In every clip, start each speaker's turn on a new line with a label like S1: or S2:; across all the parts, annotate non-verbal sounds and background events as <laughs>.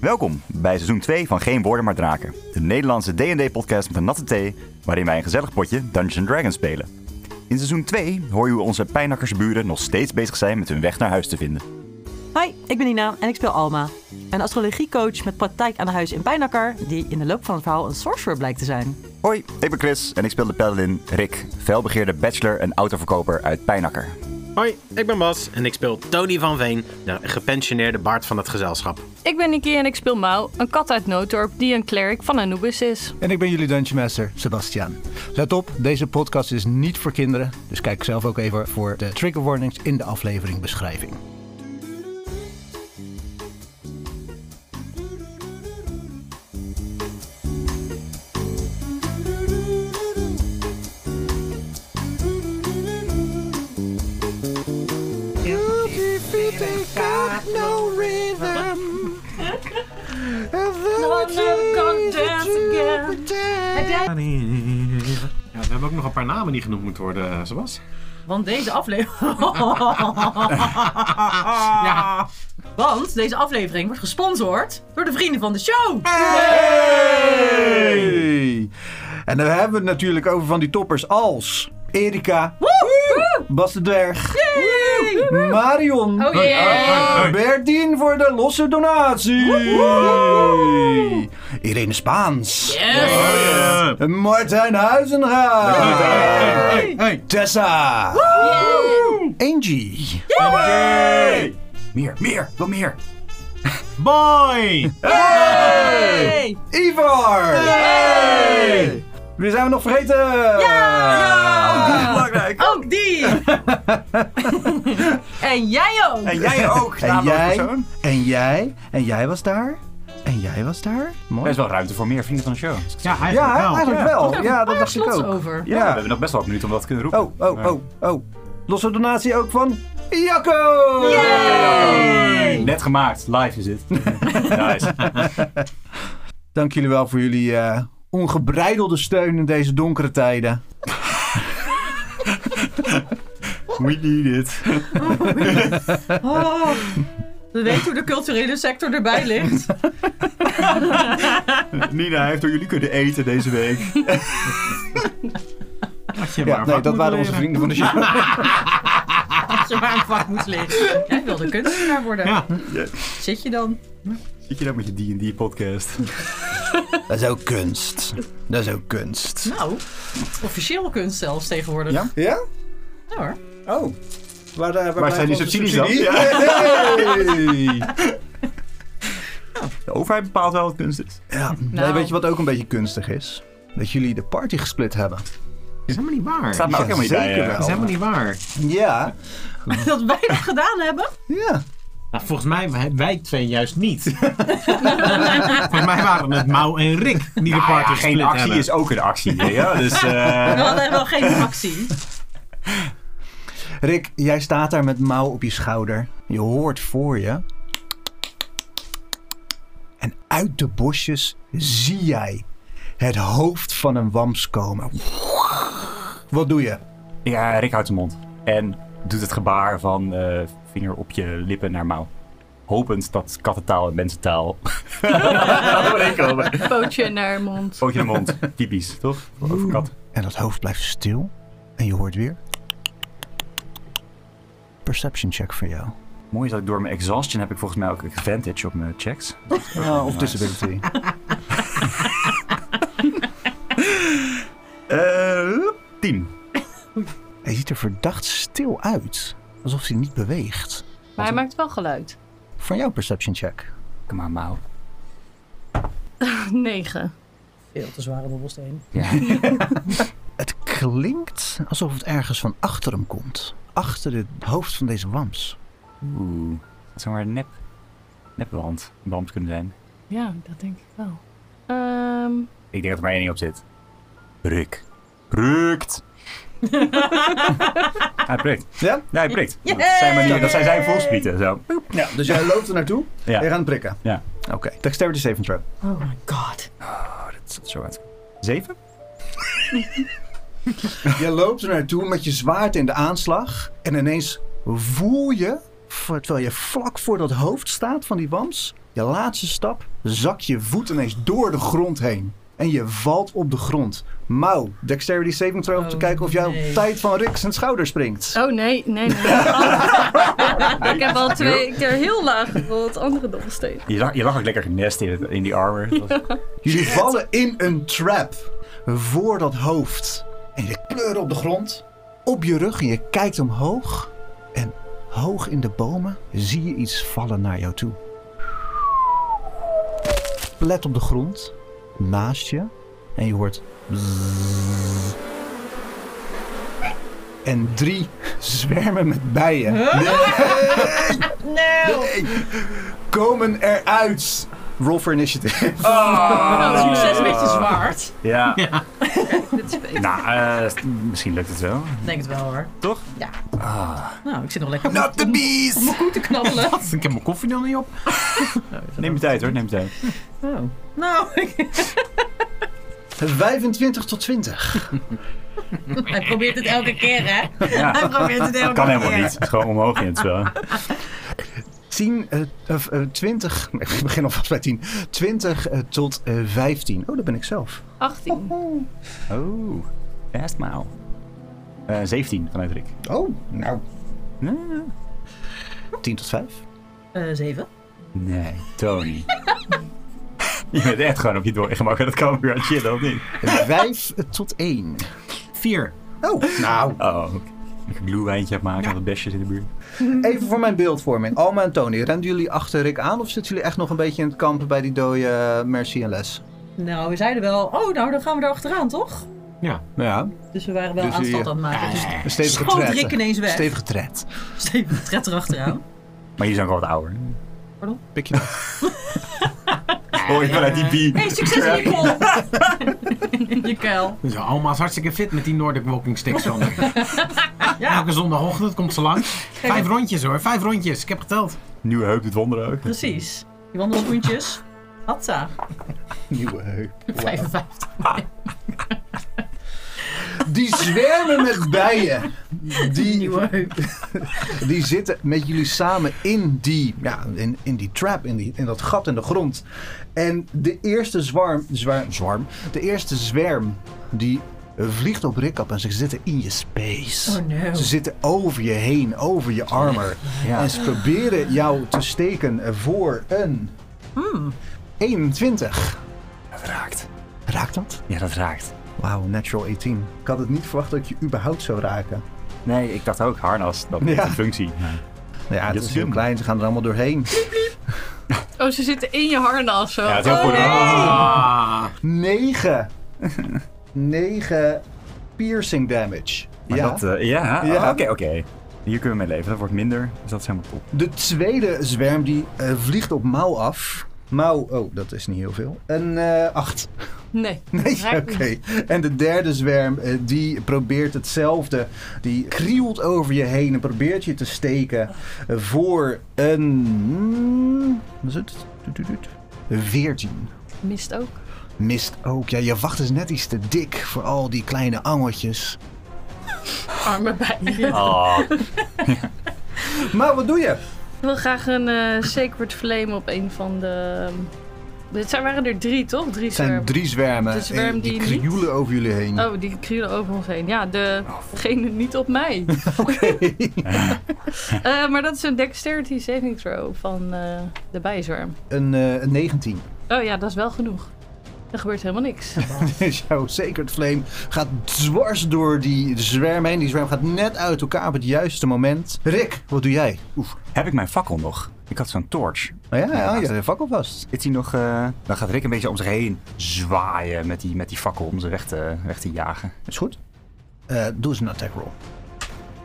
S1: Welkom bij seizoen 2 van Geen Woorden Maar Draken. De Nederlandse D&D-podcast met een natte thee, waarin wij een gezellig potje Dungeons Dragons spelen. In seizoen 2 hoor je hoe onze pijnakkersburen nog steeds bezig zijn met hun weg naar huis te vinden.
S2: Hi, ik ben Nina en ik speel Alma. Een astrologiecoach met praktijk aan de huis in Pijnakker, die in de loop van het verhaal een sorcerer blijkt te zijn.
S1: Hoi, ik ben Chris en ik speel de paladin Rick, felbegeerde bachelor en autoverkoper uit Pijnakker.
S3: Hoi, ik ben Bas en ik speel Tony van Veen, de gepensioneerde baard van het gezelschap.
S4: Ik ben Niki en ik speel Mau, een kat uit Noodorp die een cleric van Anubis is.
S5: En ik ben jullie Dungeon Master, Sebastian. Let op, deze podcast is niet voor kinderen. Dus kijk zelf ook even voor de trigger warnings in de aflevering beschrijving.
S3: Ja, we hebben ook nog een paar namen die genoemd moeten worden, eh, Sebas.
S2: Want deze aflevering. <laughs>
S3: Ja.
S2: Want deze aflevering wordt gesponsord door de vrienden van de show.
S5: Hey! En dan hebben we het natuurlijk over van die toppers als Erika, Bas de Dwerg, Marion,
S4: Oh jee!
S5: Bertien voor de losse donatie, Irene Spaans, Martijn Huizenga, Tessa, Angie, meer, meer, wat meer,
S3: Boy!
S2: Hey!
S5: Ivar, wie zijn we nog vergeten?
S1: Belangrijk!
S2: Ook die! en jij ook!
S1: En <laughs> jij ook,
S5: En
S1: naamloos
S5: jij,
S1: persoon.
S5: en jij, en jij was daar. En jij was daar.
S1: Er
S5: Mooi. Nou.
S1: is wel ruimte voor meer vrienden van de show.
S3: Ja, eigenlijk
S5: Ja,
S3: wel.
S5: eigenlijk wel. Ja, dat dacht ik
S4: slots
S5: ook.
S4: over.
S1: Ja, we
S5: Ja.
S1: hebben nog best wel een minuut om dat te kunnen roepen.
S5: Oh, oh, oh, oh. Losse donatie ook van Jacco!
S1: Net gemaakt, live is dit. nice.
S5: Dank jullie wel voor jullie eh, ongebreidelde steun in deze donkere <laughs> tijden.
S1: We need it.
S2: Oh, we weten hoe de culturele sector erbij ligt.
S1: Nina heeft door jullie kunnen eten deze
S5: <laughs>
S1: week.
S3: Had je
S5: Ja,
S3: maar wat
S5: nee, dat
S3: moeten
S5: waren onze
S3: leren.
S5: vrienden van de show.
S2: Als je maar een vak moet leren. Jij wilde kunstenaar worden.
S3: Ja.
S2: Zit je dan?
S1: Zit je nou met je D&D-podcast?
S5: <laughs> Dat is ook kunst. Dat is ook kunst.
S2: Nou, officieel kunst zelfs tegenwoordig.
S1: Ja?
S5: Ja?
S2: Ja hoor.
S5: Oh. Waar, eh, waar
S1: Waar zijn die
S5: blijft onze
S1: subsidies dan?
S5: subsidie? Hey!
S1: De overheid bepaalt wel wat kunst is.
S5: Ja,
S4: Nou.
S5: weet je wat ook een beetje kunstig is? Dat jullie de party gesplit hebben.
S3: Dat is helemaal niet waar.
S1: Staat
S3: Dat
S1: me ook
S5: Ja,
S1: helemaal niet bij.
S5: zeker
S1: eh.
S5: wel.
S3: is helemaal niet waar.
S5: Ja,
S2: Dat wij dat gedaan hebben.
S5: ja.
S3: Nou, volgens mij wij, wij twee juist
S1: <laughs>
S3: niet. volgens mij waren het Mau en Rick die de
S1: Nou <laughs> ja,
S3: party
S1: geen actie is ook een actie. hè, Ja, dus, eh,
S2: We hadden wel geen actie.
S5: Rick, jij staat daar met mouw op je schouder. Je hoort voor je. En uit de bosjes zie jij het hoofd van een wams komen. Wat doe je?
S1: ja, Rick houdt zijn mond. En doet het gebaar van eh, vinger op je lippen naar mouw. Hopend dat kattentaal en mensentaal overeenkomen.
S4: <laughs> Pootje naar mond.
S1: Pootje naar mond. Typisch, toch? Over kat.
S5: En dat hoofd blijft stil. En je hoort weer. Perception check voor jou.
S1: Mooi is dat ik door mijn exhaustion heb ik volgens mij ook advantage op mijn checks.
S5: of <laughs> disability.
S1: Eh, tien.
S5: Hij ziet er verdacht stil uit. Alsof hij niet beweegt.
S4: Maar hij maakt wel <laughs> geluid.
S5: Van jouw perception check.
S1: Kom aan, mouw.
S4: 9.
S2: Veel te zware dobbelsteen.
S5: Het klinkt alsof het ergens van achter hem komt. Achter het hoofd van deze wams.
S1: Oeh, dat zou maar een nep, nepwand wand kunnen zijn.
S4: Ja, dat denk ik wel. Ehm,
S1: Ik denk dat er maar één ding op zit. Ruk. Rukt. hij prikt.
S5: Ja?
S1: Ja, hij prikt. Dat zijn, maar niet, dat zijn zijn volspieten. Zo.
S5: Ja, dus jij loopt er naartoe
S1: Ja.
S5: en gaat prikken.
S1: Ja.
S5: Oké. Dexterity saving throw.
S2: Oh my god.
S1: Oh, dat zat zo uit. Zeven?
S5: <laughs> Jij loopt er naartoe met je zwaard in de aanslag. En ineens voel je v- terwijl je vlak voor dat hoofd staat van die wams, je laatste stap, zak je voet ineens door de grond heen. En je valt op de grond. Mauw, dexterity saving throw om te
S6: Oh,
S5: kijken of jouw
S6: nee.
S5: tijd van Rick zijn schouder springt.
S4: Oh nee, nee, nee. ik heb al twee keer heel laag gerold, andere domme steen.
S1: Je lag, je lag ook lekker genest in, het- in die armor. Dat was-
S5: Jullie vallen in een trap voor dat hoofd. En je kleuren op de grond, op je rug en je kijkt omhoog. En hoog in de bomen zie je iets vallen naar jou toe. Let op de grond, naast je. En je hoort... bzzz. En drie zwermen met bijen. Nee. Komen eruit. Roll for initiative.
S1: Ah.
S6: Oh, succes met je zwaard.
S1: Ja,
S6: Dit is
S1: <laughs>
S6: beter.
S1: nou, eh, st- misschien lukt het wel.
S6: Ik denk het wel hoor.
S1: Toch?
S6: Ja.
S1: Ah.
S6: Nou, ik zit nog lekker
S1: Not the beast!
S6: goed te
S1: <laughs>
S6: knabbelen.
S3: Ik heb mijn koffie nog niet op.
S1: Neem je tijd hoor, neem je tijd.
S6: Oh. Nou, <laughs> ik-
S5: 25 tot 20.
S6: hij probeert het elke keer hè. Hij
S1: Ja,
S6: probeert het elke keer.
S1: dat kan helemaal niet. Het is gewoon omhoog in het spel.
S5: 10, eh, of, eh, <laughs> 20. Ik begin alvast bij 10. 20 eh, tot eh, 15. Oh, dat ben ik zelf.
S4: 18.
S1: Oh, fast mile. Eh, 17 vanuit Rick.
S5: Oh, nou.
S1: Nee.
S5: 10 tot 5.
S6: Eh, zeven.
S1: Nee, Tony. <laughs> je bent echt gewoon op je doorgemak en dat kan weer aan het chillen, of niet?
S5: 5 eh, tot 1.
S3: Vier.
S5: Oh, nou.
S1: Oh, oké. Lekker gluewijntje maken aan de besjes in de buurt.
S5: Even voor mijn beeldvorming. Alma en Tony, renden jullie achter Rick aan of zitten jullie echt nog een beetje in het kampen bij die dode eh, Mercy en Les?
S6: Nou, we zeiden wel, oh nou, dan gaan we er achteraan toch?
S3: Ja.
S5: Nou Ja,
S6: Dus we waren wel
S5: Dus die-
S6: aanstand aan het maken. Dus
S5: een stevige
S6: schoot
S5: tred.
S6: Rick ineens weg.
S5: Stevige tred.
S6: Steven tred
S5: <laughs>
S6: erachteraan.
S1: Maar jullie zijn gewoon wat ouder.
S5: Pik je dat?
S1: Hoor je vanuit die
S6: Hey, succes in je kol! in <laughs> je kuil.
S3: Zo, Alma is hartstikke fit met die Nordic Walking Sticks. van
S1: <laughs>
S3: haar. Elke zondagochtend komt ze langs. Vijf rondjes hoor, vijf rondjes. Ik heb geteld.
S1: Nieuwe heup doet wonderen ook.
S6: Precies. Je wandelschoentjes. Hatta.
S5: Nieuwe heup.
S6: 55.
S5: <laughs> Die zwermen met bijen. Die,
S6: Nieuwe heup.
S5: Die zitten met jullie samen in die, ja, in, in die trap, in, die, in dat gat in de grond. En de eerste zwarm, zwarm, zwarm, de eerste zwerm die vliegt op Rick af en ze zitten in je space.
S6: Oh, no.
S5: Ze zitten over je heen, over je armor. En ze proberen jou te steken voor een
S6: Hmm.
S5: 21.
S1: Dat raakt.
S5: Raakt dat?
S1: Ja, dat raakt.
S5: Wauw, natural 18. Ik had het niet verwacht dat ik je überhaupt zou raken.
S1: Nee, ik dacht ook harnas. Dat heeft
S5: Ja.
S1: een functie.
S5: Nou ja, het
S1: Dat
S5: is
S1: is
S5: heel
S1: dom.
S5: klein, ze gaan er allemaal doorheen.
S4: Oh, ze zitten in je harnas zo.
S1: Ja, het is
S5: Oh,
S1: heel goed.
S3: Ah.
S5: <laughs> 9. 9 piercing damage.
S1: Maar
S5: ja.
S1: dat, eh, ja,
S5: Ja.
S1: Ah, oké, oké. Hier kunnen we mee leven. Dat wordt minder, dus dat is helemaal top.
S5: De tweede zwerm die eh, vliegt op Mauw af. Mauw, oh, dat is niet heel veel. Een 8.
S4: Nee.
S5: Nee, oké. En de derde zwerm, eh, die probeert hetzelfde. Die krielt over je heen en probeert je te steken voor een... Wat is het? Doet, doet, doet. 14.
S4: Mist ook.
S5: Mist ook. Ja, je wacht is net iets te dik voor al die kleine angeltjes.
S4: Armen bij.
S1: Oh,
S5: Maar wat doe je?
S4: Ik wil graag een eh, Sacred Flame op een van de... Dit zijn, waren er drie, toch? Drie
S5: Het zijn
S4: zwermen.
S5: drie zwermen.
S4: De zwerm
S5: en die
S4: die niet-
S5: krioelen over jullie heen.
S4: Oh, die krielen over ons heen. Ja, de- degene niet op mij. <laughs> Eh, maar dat is een dexterity saving throw van eh, de bijzwerm.
S5: Een, eh, een 19.
S4: Oh ja, dat is wel genoeg. Er gebeurt helemaal niks.
S5: <laughs> Dus jouw Sacred Flame gaat dwars door die zwerm heen. Die zwerm gaat net uit elkaar op het juiste moment. Rick, wat doe jij? Oef.
S1: heb ik mijn fakkel nog? Ik had zo'n torch.
S5: Nou ja, ja, je fakkel vast.
S1: Is hij nog... eh, Dan gaat Rick een beetje om zich heen zwaaien met die, met die fakkel om ze weg te, weg te jagen.
S5: Is goed. Eh, doe eens een attack roll.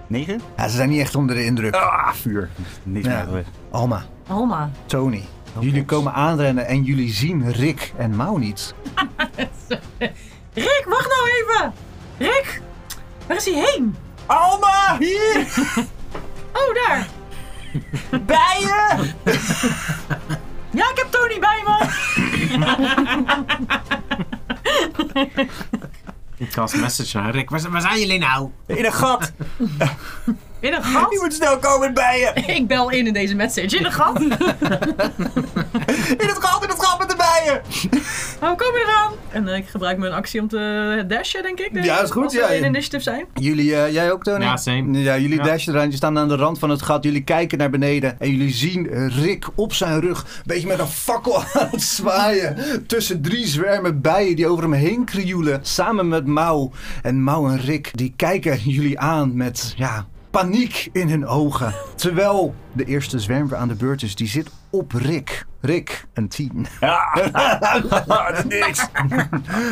S1: 9?
S5: Ja, ze zijn niet echt onder de indruk.
S1: Ah, vuur. Niks
S5: Ja.
S1: meer.
S5: Alma,
S6: Alma.
S5: Tony. Jullie komen aanrennen en jullie zien Rick en Mau niet.
S6: Rick, wacht nou even! Rick! Waar is hij heen?
S1: Alma, hier!
S6: Oh, daar!
S1: Bij je!
S6: Ja, ik heb Tony bij me!
S3: Ik als message naar Rick. Waar, z- waar zijn jullie nou?
S1: In een gat!
S6: In een
S1: Je
S5: <laughs>
S1: moet snel komen bij je.
S6: Ik bel in in deze message. In de gat.
S1: In het gat, in het gat met de bijen.
S6: Oh, kom je eraan? En eh, ik gebruik mijn actie om te dashen, denk ik. eh,
S5: Ja, is goed,
S6: Als
S5: ja,
S6: we in
S5: ja.
S6: initiative zijn.
S5: Jullie, eh, jij ook, Tony?
S3: Ja, same.
S5: Ja, jullie
S3: Ja.
S5: dashen eraan. Je staan aan de rand van het gat. Jullie kijken naar beneden. En jullie zien eh, Rick op zijn rug. Een beetje met een fakkel <laughs> aan het zwaaien. Tussen drie zwermen bijen die over hem heen krioelen. Samen met Mau. En Mau en Rick die kijken jullie aan met, ja... Paniek in hun ogen. Terwijl de eerste zwerm weer aan de beurt is, die zit op Rick. Rick, een tien.
S1: Ja, niks.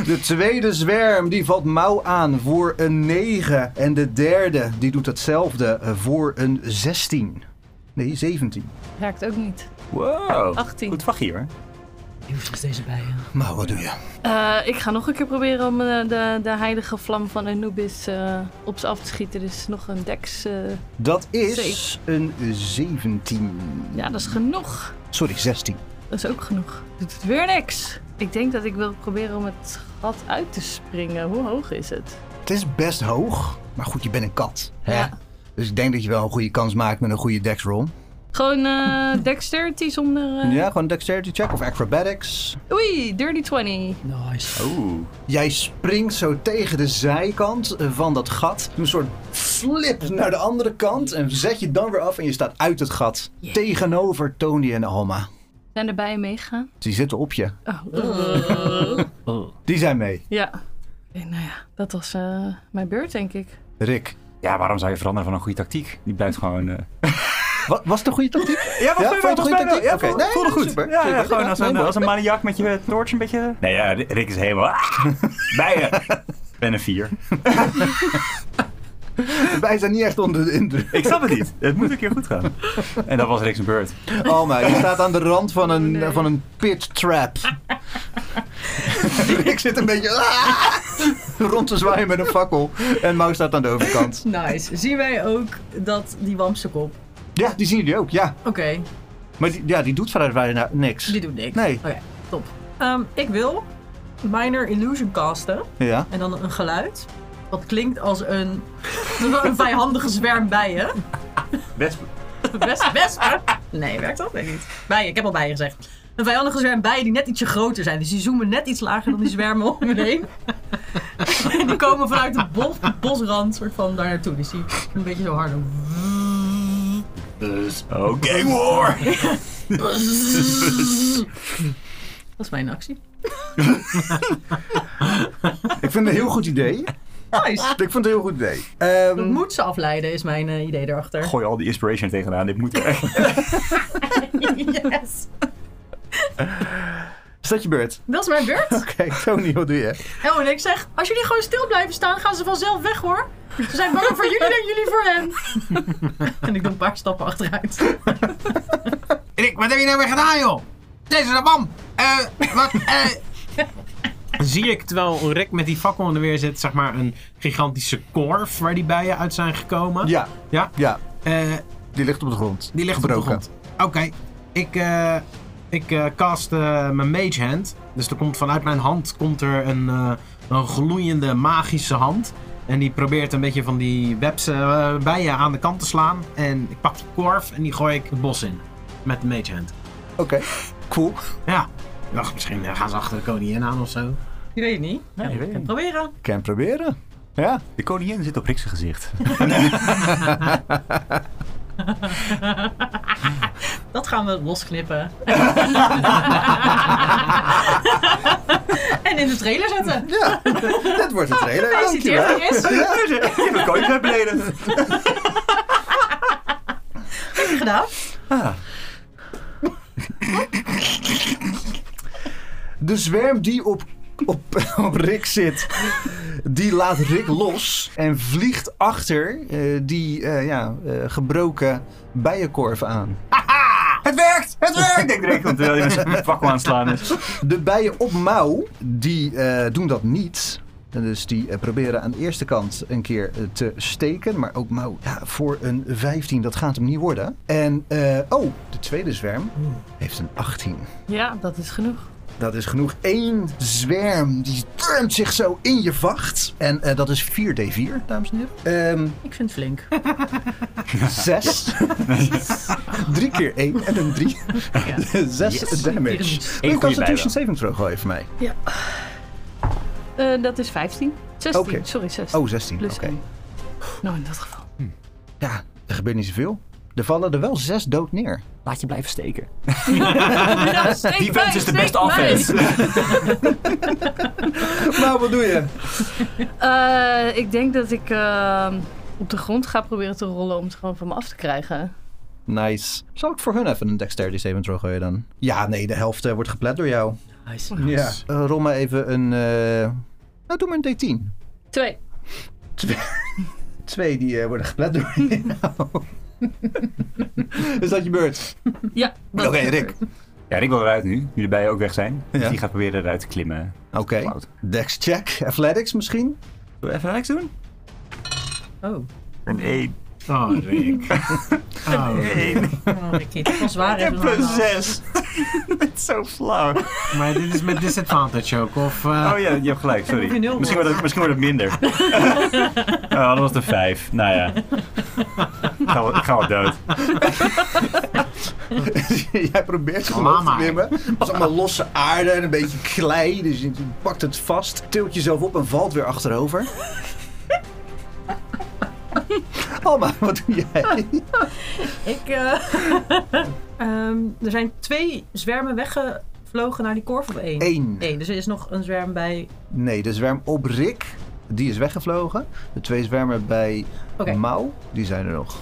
S5: De tweede zwerm die valt mouw aan voor een 9. En de derde die doet hetzelfde eh, voor een 16. Nee, 17.
S4: Raakt ook niet.
S1: Wow.
S4: 18.
S1: Goed vagje hoor.
S6: Useless deze bijen.
S5: Maar Nou, wat doe je?
S4: Eh, ik ga nog een keer proberen om eh, de, de heilige vlam van Anubis eh, op ze af te schieten. Dus nog een dex. eh,
S5: Dat is een 17.
S4: ja, dat is genoeg.
S5: Sorry, 16.
S4: Dat is ook genoeg. Doet het weer niks. Ik denk dat ik wil proberen om het gat uit te springen. Hoe hoog is het?
S5: Het is best hoog, maar goed, je bent een kat. Hè?
S4: Ja.
S5: Dus ik denk dat je wel een goede kans maakt met een goede dex roll.
S4: Gewoon eh dexterity zonder... eh,
S5: Ja, gewoon dexterity check of acrobatics.
S4: Oei, dirty 20.
S2: Nice.
S1: Oeh.
S5: Jij springt zo tegen de zijkant eh, van dat gat. Een soort flip naar de andere kant. En zet je dan weer af en je staat uit het gat. Tegenover Tony en Alma.
S4: Zijn er bijen meegegaan?
S5: Die zitten op je.
S4: Oh.
S5: Die zijn mee.
S4: Ja. Oké, nou ja, dat was eh, mijn beurt, denk ik.
S5: Rick.
S1: Ja, waarom zou je veranderen van een goede tactiek? Die blijft gewoon... eh,
S5: Wat, was het een goede tactiek?
S1: <laughs> Ja,
S5: Ja, vond je het een goede tactiek?
S1: Ja,
S5: Oké.
S1: voel-
S5: Nee,
S1: voelde
S5: nee,
S1: goed.
S5: super.
S1: Ja, ja,
S5: Super.
S1: gewoon
S5: Ja,
S1: als
S5: nee,
S1: een,
S5: mooi.
S1: als een maniak met je torch een beetje... eh, Nee, ja, Rick is helemaal... <laughs> Ah, bij je. ben een vier.
S5: Wij zijn niet echt onder de indruk.
S1: Ik snap het niet. Het moet een keer goed gaan. En dat was Rick's beurt.
S5: <laughs> Alma, je staat aan de rand van een,
S1: Oh,
S5: van een pit
S1: <laughs>
S5: trap. Rick zit een beetje <laughs> ah, rond te zwaaien met een fakkel. En Mau staat aan de overkant.
S6: Nice. Zien wij ook dat die wamse kop...
S5: Ja, die zien jullie ook, ja.
S6: Oké,
S5: Maar die, ja, die doet verder bijna niks.
S6: die doet niks.
S5: Nee.
S6: Oké, top. Ehm, ik wil Minor Illusion casten.
S5: Ja.
S6: En dan een geluid. Dat klinkt als een, <laughs> een vijandige zwerm bijen.
S1: Best...
S6: Wes- Wespen? Nee, werkt dat? Nee, niet. Bijen, ik heb al bijen gezegd. Een vijandige zwerm bijen die net ietsje groter zijn. Dus die zoomen net iets lager dan die zwermen om me heen. <laughs> en die komen vanuit de bos, bosrand soort van daar naartoe. Dus die een beetje zo hard.
S1: Dus... Oh, gang war!
S6: Dat is mijn actie.
S5: <laughs> Ik vind het een heel goed
S3: <laughs>
S5: idee.
S6: Nice.
S5: Ik vond het een heel goed idee.
S6: Dat
S5: Ehm,
S6: moet ze afleiden, is mijn eh, idee erachter.
S1: Gooi al die inspiration er tegenaan. Dit moet echt...
S6: Yes.
S5: is dat je beurt? <laughs>
S6: Dat is mijn beurt.
S5: Kijk, Tony, wat doe je?
S6: Oh, en ik zeg, als jullie gewoon stil blijven staan, gaan ze vanzelf weg hoor. Ze zijn bang voor <laughs> jullie dan jullie voor hen. <laughs> en ik doe een paar stappen achteruit.
S3: Rick, wat heb je nou weer gedaan, joh? Deze rabam. Eh, wat, eh... <laughs> Zie ik, terwijl Rick met die fakkel in de weer zit, zeg maar een gigantische korf waar die bijen uit zijn gekomen.
S5: Ja,
S3: Ja?
S5: ja.
S3: Eh,
S5: Die ligt op de grond.
S3: die ligt
S5: Gebroken.
S3: op de grond. Oké. Ik, eh, ik eh, cast eh, mijn mage hand. Dus er komt vanuit mijn hand komt er een, eh, een gloeiende magische hand. En die probeert een beetje van die webs eh, bijen aan de kant te slaan. En ik pak die korf en die gooi ik het bos in. Met de mage hand.
S5: Oké, cool.
S3: Ja. Ik dacht, misschien eh, gaan ze achter de koningin aan of zo.
S6: Je weet het niet. Nou,
S1: je weet het.
S6: proberen.
S5: Kan proberen. Ja.
S1: De koningin zit op Rick's gezicht. <laughs>
S6: Dat gaan we <laughs> losknippen. en in de trailer zetten.
S3: <laughs>
S5: Ja, dat wordt een trailer.
S6: Gefeliciteerd,
S5: Dankjewel.
S6: Chris. <laughs>
S1: Ja, je hebt een koning zijn beneden.
S6: Gedaan.
S5: De zwerm die op, op, <laughs> op Rick zit, die laat Rick los en vliegt achter eh, die eh, ja, eh, gebroken bijenkorf aan.
S1: Het werkt! Het werkt! Denkt Rick, want eh, terwijl hij met zijn fakkel aan het slaan is.
S5: De bijen op mouw, die eh, doen dat niet. En dus die eh, proberen aan de eerste kant een keer eh, te steken. Maar ook mouw, ja, voor een 15, dat gaat hem niet worden. En, eh, oh, de tweede zwerm heeft een 18.
S4: Ja, dat is genoeg.
S5: Dat is genoeg. Eén zwerm die turmt zich zo in je vacht. En eh, dat is 4d4, dames en heren. Ehm,
S6: Ik vind het flink.
S5: Zes. drie keer één en een drie. <laughs> Zes
S1: Yes.
S5: damage.
S1: Eén
S5: Een
S1: goede
S5: Constitution saving throw gooi even mij.
S4: Eh, dat is 15. 16,
S5: Oké.
S4: sorry, 16.
S5: Oh, 16. Oké.
S4: Plus één. Nou, in dat
S6: <laughs>
S4: geval.
S5: Ja, er gebeurt niet zoveel. Er vallen er wel zes dood neer.
S1: Laat je blijven steken.
S6: Nou,
S4: Ja, steek
S1: Die
S4: mij,
S1: vent is de
S4: steek
S1: beste
S4: mij.
S1: offense.
S5: Nou, wat doe je?
S4: Eh, ik denk dat ik eh, op de grond ga proberen te rollen om het gewoon van me af te krijgen.
S5: Nice. Zal ik voor hun even een dexterity saving throw gooien dan? Ja, nee, de helft eh, wordt geplet door jou.
S6: Nice.
S5: Ja. rol maar even een... eh, Nou, doe maar een D10.
S4: Twee.
S5: <laughs> Twee die eh, worden geplet door jou. <laughs> is dat je <laughs> beurt?
S4: Ja.
S5: Oké, Rick.
S1: Ja, Rick wil eruit nu. Jullie beiden ook weg zijn. Dus
S5: Ja.
S1: die gaat proberen eruit te klimmen.
S5: Oké.
S1: Cloud.
S5: Dex check. Athletics misschien?
S1: Zullen we even Rijks doen?
S6: Oh.
S1: Een 1.
S3: Oh, Rick. Oh.
S6: Oh, Ricky, het was waar. even
S1: plus
S6: normaal.
S1: <laughs> 6. Het is zo flauw.
S3: Maar dit is met disadvantage ook, of... eh,
S1: Oh ja, je hebt gelijk,
S6: heb je
S1: sorry.
S6: nul.
S1: Misschien wordt het, misschien wordt het minder.
S6: <laughs>
S1: oh, dat was de 5. Nou ja. Ik ga wel- Ik ga wel dood.
S5: <laughs> Jij probeert ze omhoog te
S3: Mama.
S5: klimmen. Het is allemaal losse aarde en een beetje klei. Dus je pakt het vast, tilt jezelf op en valt weer achterover. <laughs> Alma, wat doe jij?
S6: Ik, eh, <laughs> ehm, er zijn twee zwermen weggevlogen naar die korf of één?
S5: Eén.
S6: Eén, dus er is nog een zwerm bij.
S5: Nee, de zwerm op Rick, die is weggevlogen. De twee zwermen bij
S6: Oké.
S5: Mau, die zijn er nog.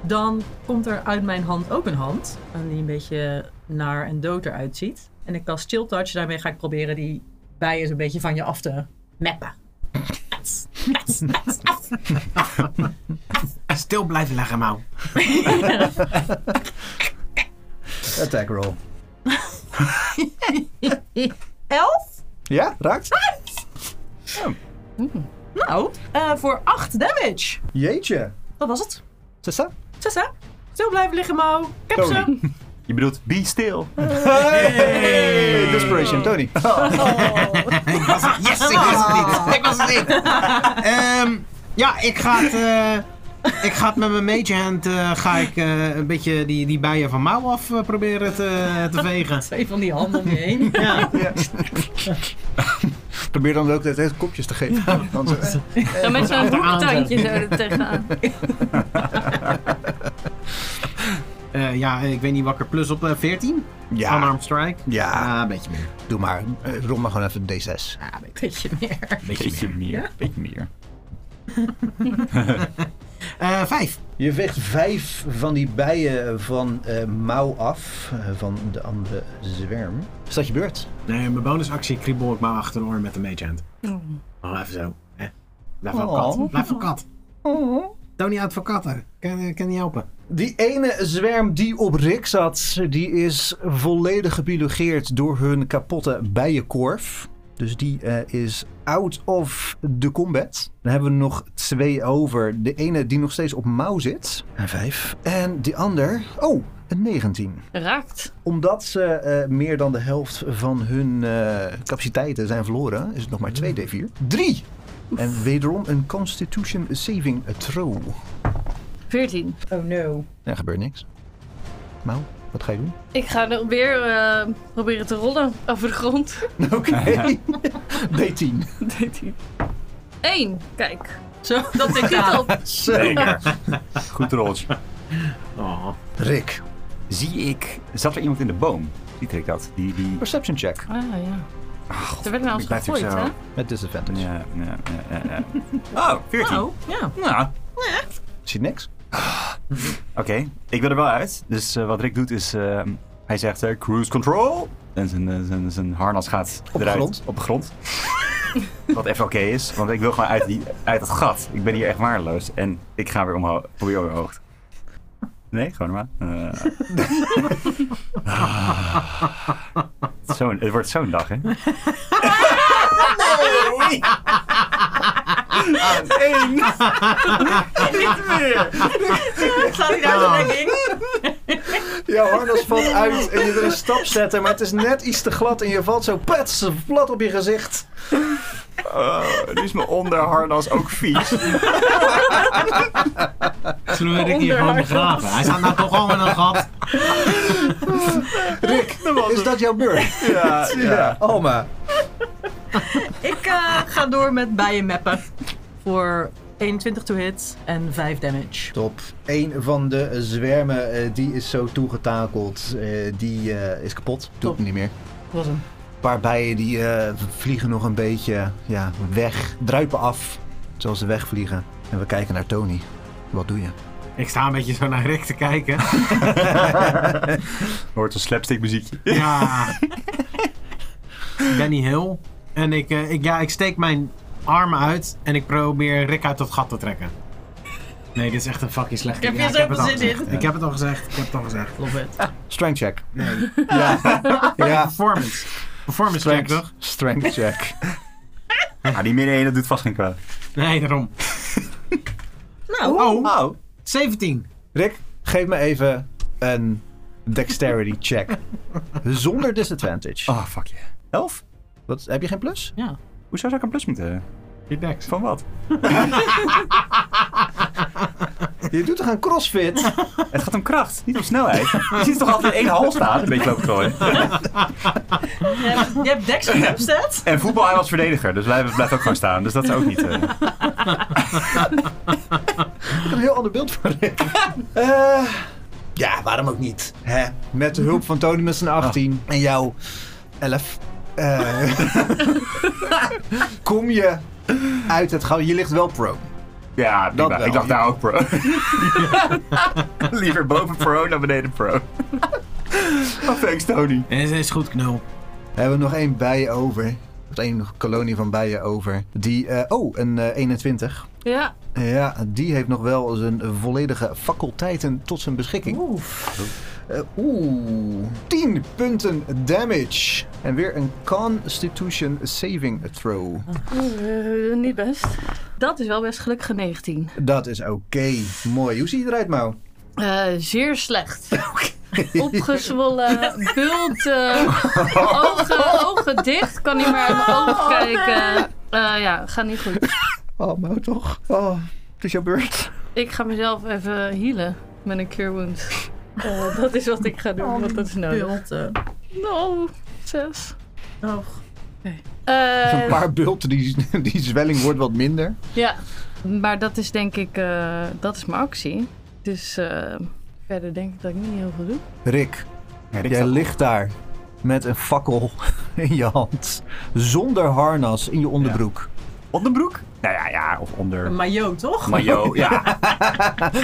S6: Dan komt er uit mijn hand ook een hand. en Die een beetje naar en dood eruit ziet. En ik kast Chill Touch. Daarmee ga ik proberen die bijen een beetje van je af te meppen. Mets, mets, mets, af.
S3: Stil blijven leggen, Mau.
S5: Attack roll.
S6: Elf?
S5: Ja, raakt?
S6: Nou, eh, voor acht damage.
S5: Jeetje.
S6: Dat was het.
S5: Tessa?
S6: Tessa, stil blijven liggen, Mau. Ik heb ze.
S1: Je bedoelt, be still.
S5: Hey, Desperation, <laughs> Tony.
S3: Ik was het. <laughs> Yes, ik was het niet. Ik was het niet. Ehm, ja, ik ga het... eh, ik ga het met mijn mage hand eh, ga ik, eh, een beetje die, die bijen van mouw af eh, proberen te, te vegen.
S6: Twee van die handen om je heen.
S3: <laughs> Ja.
S5: Probeer dan ook de tijd kopjes te geven. Want, eh,
S4: Dan
S6: <laughs>
S4: met zo'n
S3: Achteraan
S4: hoektandje zo er tegenaan.
S3: Eh, ja, ik weet niet wakker. Plus op eh, 14?
S5: Ja.
S3: Unarmed strike?
S5: Ja.
S3: Ah, een beetje meer.
S5: <laughs> Doe maar, eh, rol maar gewoon even een D6.
S6: Ja, een beetje meer.
S1: Beetje meer, beetje meer.
S3: Eh, vijf.
S5: Je veegt vijf van die bijen van eh, mouw af, eh, van de andere zwerm. Is dat je beurt?
S3: Nee, mijn bonusactie kriebel ik maar achter de oor met de mage hand. Oh, even zo. hè. Blijf advocaat.
S5: Oh.
S3: Blijf advocaat. Tony advocaat, hè. kan, kan niet helpen.
S5: Die ene zwerm die op Rick zat, die is volledig gebiologeerd door hun kapotte bijenkorf. Dus die eh, is out of the combat. Dan hebben we nog twee over. De ene die nog steeds op mouw zit. Een vijf. En die ander, oh, een 19.
S4: Raakt.
S5: Omdat ze eh, meer dan de helft van hun eh, capaciteiten zijn verloren, is het nog maar 2d4. 3! En wederom een Constitution Saving Throw.
S4: 14.
S6: Oh no.
S5: Er gebeurt niks. Nou, wat ga je doen? <laughs>
S4: Ik ga er weer eh, proberen te rollen over de <laughs> grond.
S5: Oké. D10.
S4: 13. 1. Kijk.
S6: Zo, dat denk ik
S4: Dit
S6: aan.
S4: op.
S1: Zeker. Goed rolletje.
S3: Oh.
S5: Rick,
S1: Zie ik, zat er iemand in de boom? Ziet ik dat? Die, die...
S6: Oh.
S5: perception check.
S4: Ah ja. er werd nou eens
S1: ik ben
S4: gegooid, hè?
S1: natuurlijk
S5: Met disadvantage.
S1: Ja, ja, ja, ja, ja. Oh, 14.
S6: Oh, ja.
S1: Nou,
S5: Ziet niks?
S1: Oké, ik wil er wel uit. Dus eh, wat Rick doet is, ehm, hij zegt eh, cruise control. En zijn, eh, zijn, zijn harnas gaat
S5: de
S1: eruit.
S5: grond?
S1: Op de grond. <laughs> wat even oké is, want ik wil gewoon uit, die, uit dat gat. Ik ben hier echt waardeloos. En ik ga weer omhoog. Probeer weer omhoog. Nee, gewoon maar. Eh. Ah. Zo'n- het wordt zo'n dag, hè? Nee! Aan één! Niet meer!
S6: Staat hij daar zo denk ik.
S5: Jouw harnas valt uit en je wil een stap zetten, maar het is net iets te glad en je valt zo pets, plat op je gezicht.
S1: Oh, <laughs> nu is mijn onderharnas ook vies.
S3: Zullen we Rick hier gewoon begraven? Hij staat nou toch al in een gat.
S5: Rick, is dat jouw beurt?
S1: Ja,
S5: <laughs> Ja, Alma.
S6: Ik eh, ga door met bijen mappen. Voor 21 to hit en 5 damage.
S5: Top. Een van de eh, zwermen, eh, die is zo toegetakeld. eh, die eh, is kapot. Doet
S6: Top.
S5: het niet meer.
S6: was hem.
S5: Een paar bijen die eh, vliegen nog een beetje ja, weg. Druipen af. Terwijl ze wegvliegen. En we kijken naar Tony. Wat doe je?
S3: Ik sta een beetje zo naar Rick te kijken.
S1: Hoort een slapstick muziekje.
S3: Ja. Ah. <laughs> Benny Hill. En ik, eh, ik, ja, ik steek mijn armen uit en ik probeer Rick uit dat gat te trekken. Nee, dit is echt een fucking slecht
S6: Ik heb hier zoveel zin in.
S3: Ik heb het al gezegd. Ik heb het al gezegd.
S6: Love it.
S5: Strength check.
S3: Nee.
S5: <laughs>
S3: <laughs>
S5: Ja. ja.
S3: Performance. Performance check toch?
S5: Strength check.
S1: Ah, die midden 1, dat doet vast geen kwaad.
S3: Nee, daarom.
S6: Nou,
S3: Oh,
S5: Oh.
S3: 17.
S5: Rick, geef me even een dexterity
S3: <laughs>
S5: check. Zonder disadvantage.
S1: Oh, fuck je. Yeah. Elf?
S5: Wat, heb je geen plus?
S6: ja.
S1: Hoezo zou ik een plus moeten hebben?
S3: Je deks.
S1: Van wat?
S5: Je doet toch een <laughs> crossfit?
S1: Het gaat om kracht, niet om snelheid. Je ziet toch altijd in één hal staan? Een beetje lopen gooien.
S6: je hebt, je hebt Dex
S3: <laughs>
S6: op opzet.
S1: En voetbal, hij was verdediger, dus hij blijft ook gewoon staan. Dus dat is ook niet... eh,
S5: Ik heb een heel ander beeld van <laughs> Rick. Eh, ja, waarom ook niet? Hè? Met de hulp van Tony met zijn 18 en jou 11. eh, <laughs> kom je uit het gat. Je ligt wel pro.
S1: Ja,
S5: Dat
S1: prima.
S5: wel.
S1: Ik dacht nou ook pro. <laughs> Liever boven pro dan beneden pro. <laughs> Oh, thanks Tony.
S3: Is, is goed, knul.
S5: We hebben nog één bijen over. Of één kolonie van bijen over. Die, eh, oh, een eh, 21.
S4: Ja,
S5: Ja, die heeft nog wel zijn volledige faculteiten tot zijn beschikking. Oeh. oeh. 10 punten damage. En weer een Constitution saving throw.
S4: eh, niet best. Dat is wel best gelukkig een 19.
S5: Dat is oké. Mooi. Hoe zie je eruit, Mau?
S4: Eh, zeer slecht. Opgezwollen, bult, eh, ogen, ogen dicht, kan niet meer uit mijn ogen kijken. Eh, ja, gaat niet goed.
S5: Oh, Mau toch? Oh, het is jouw beurt.
S4: Ik ga mezelf even healen met een cure wound.
S6: <laughs>
S4: Eh, dat is wat ik ga doen, want
S6: Oh,
S4: dat is nodig.
S6: Pilte.
S4: No, zes.
S6: Oh,
S5: Een paar bulten, die, die zwelling wordt wat minder.
S4: Eh, Ja, maar dat is denk ik, eh, dat is mijn actie. Dus eh, verder denk ik dat ik niet heel veel
S6: <laughs>
S4: doe. <laughs>
S5: Rick,
S1: Rick
S5: jij
S1: staat-
S5: ligt daar met een fakkel in je hand. Zonder harnas in je onderbroek.
S1: Onderbroek? Nou ja, ja, of
S5: <laughs>
S1: onder...
S6: een maillot, toch?
S1: Mayo, ja.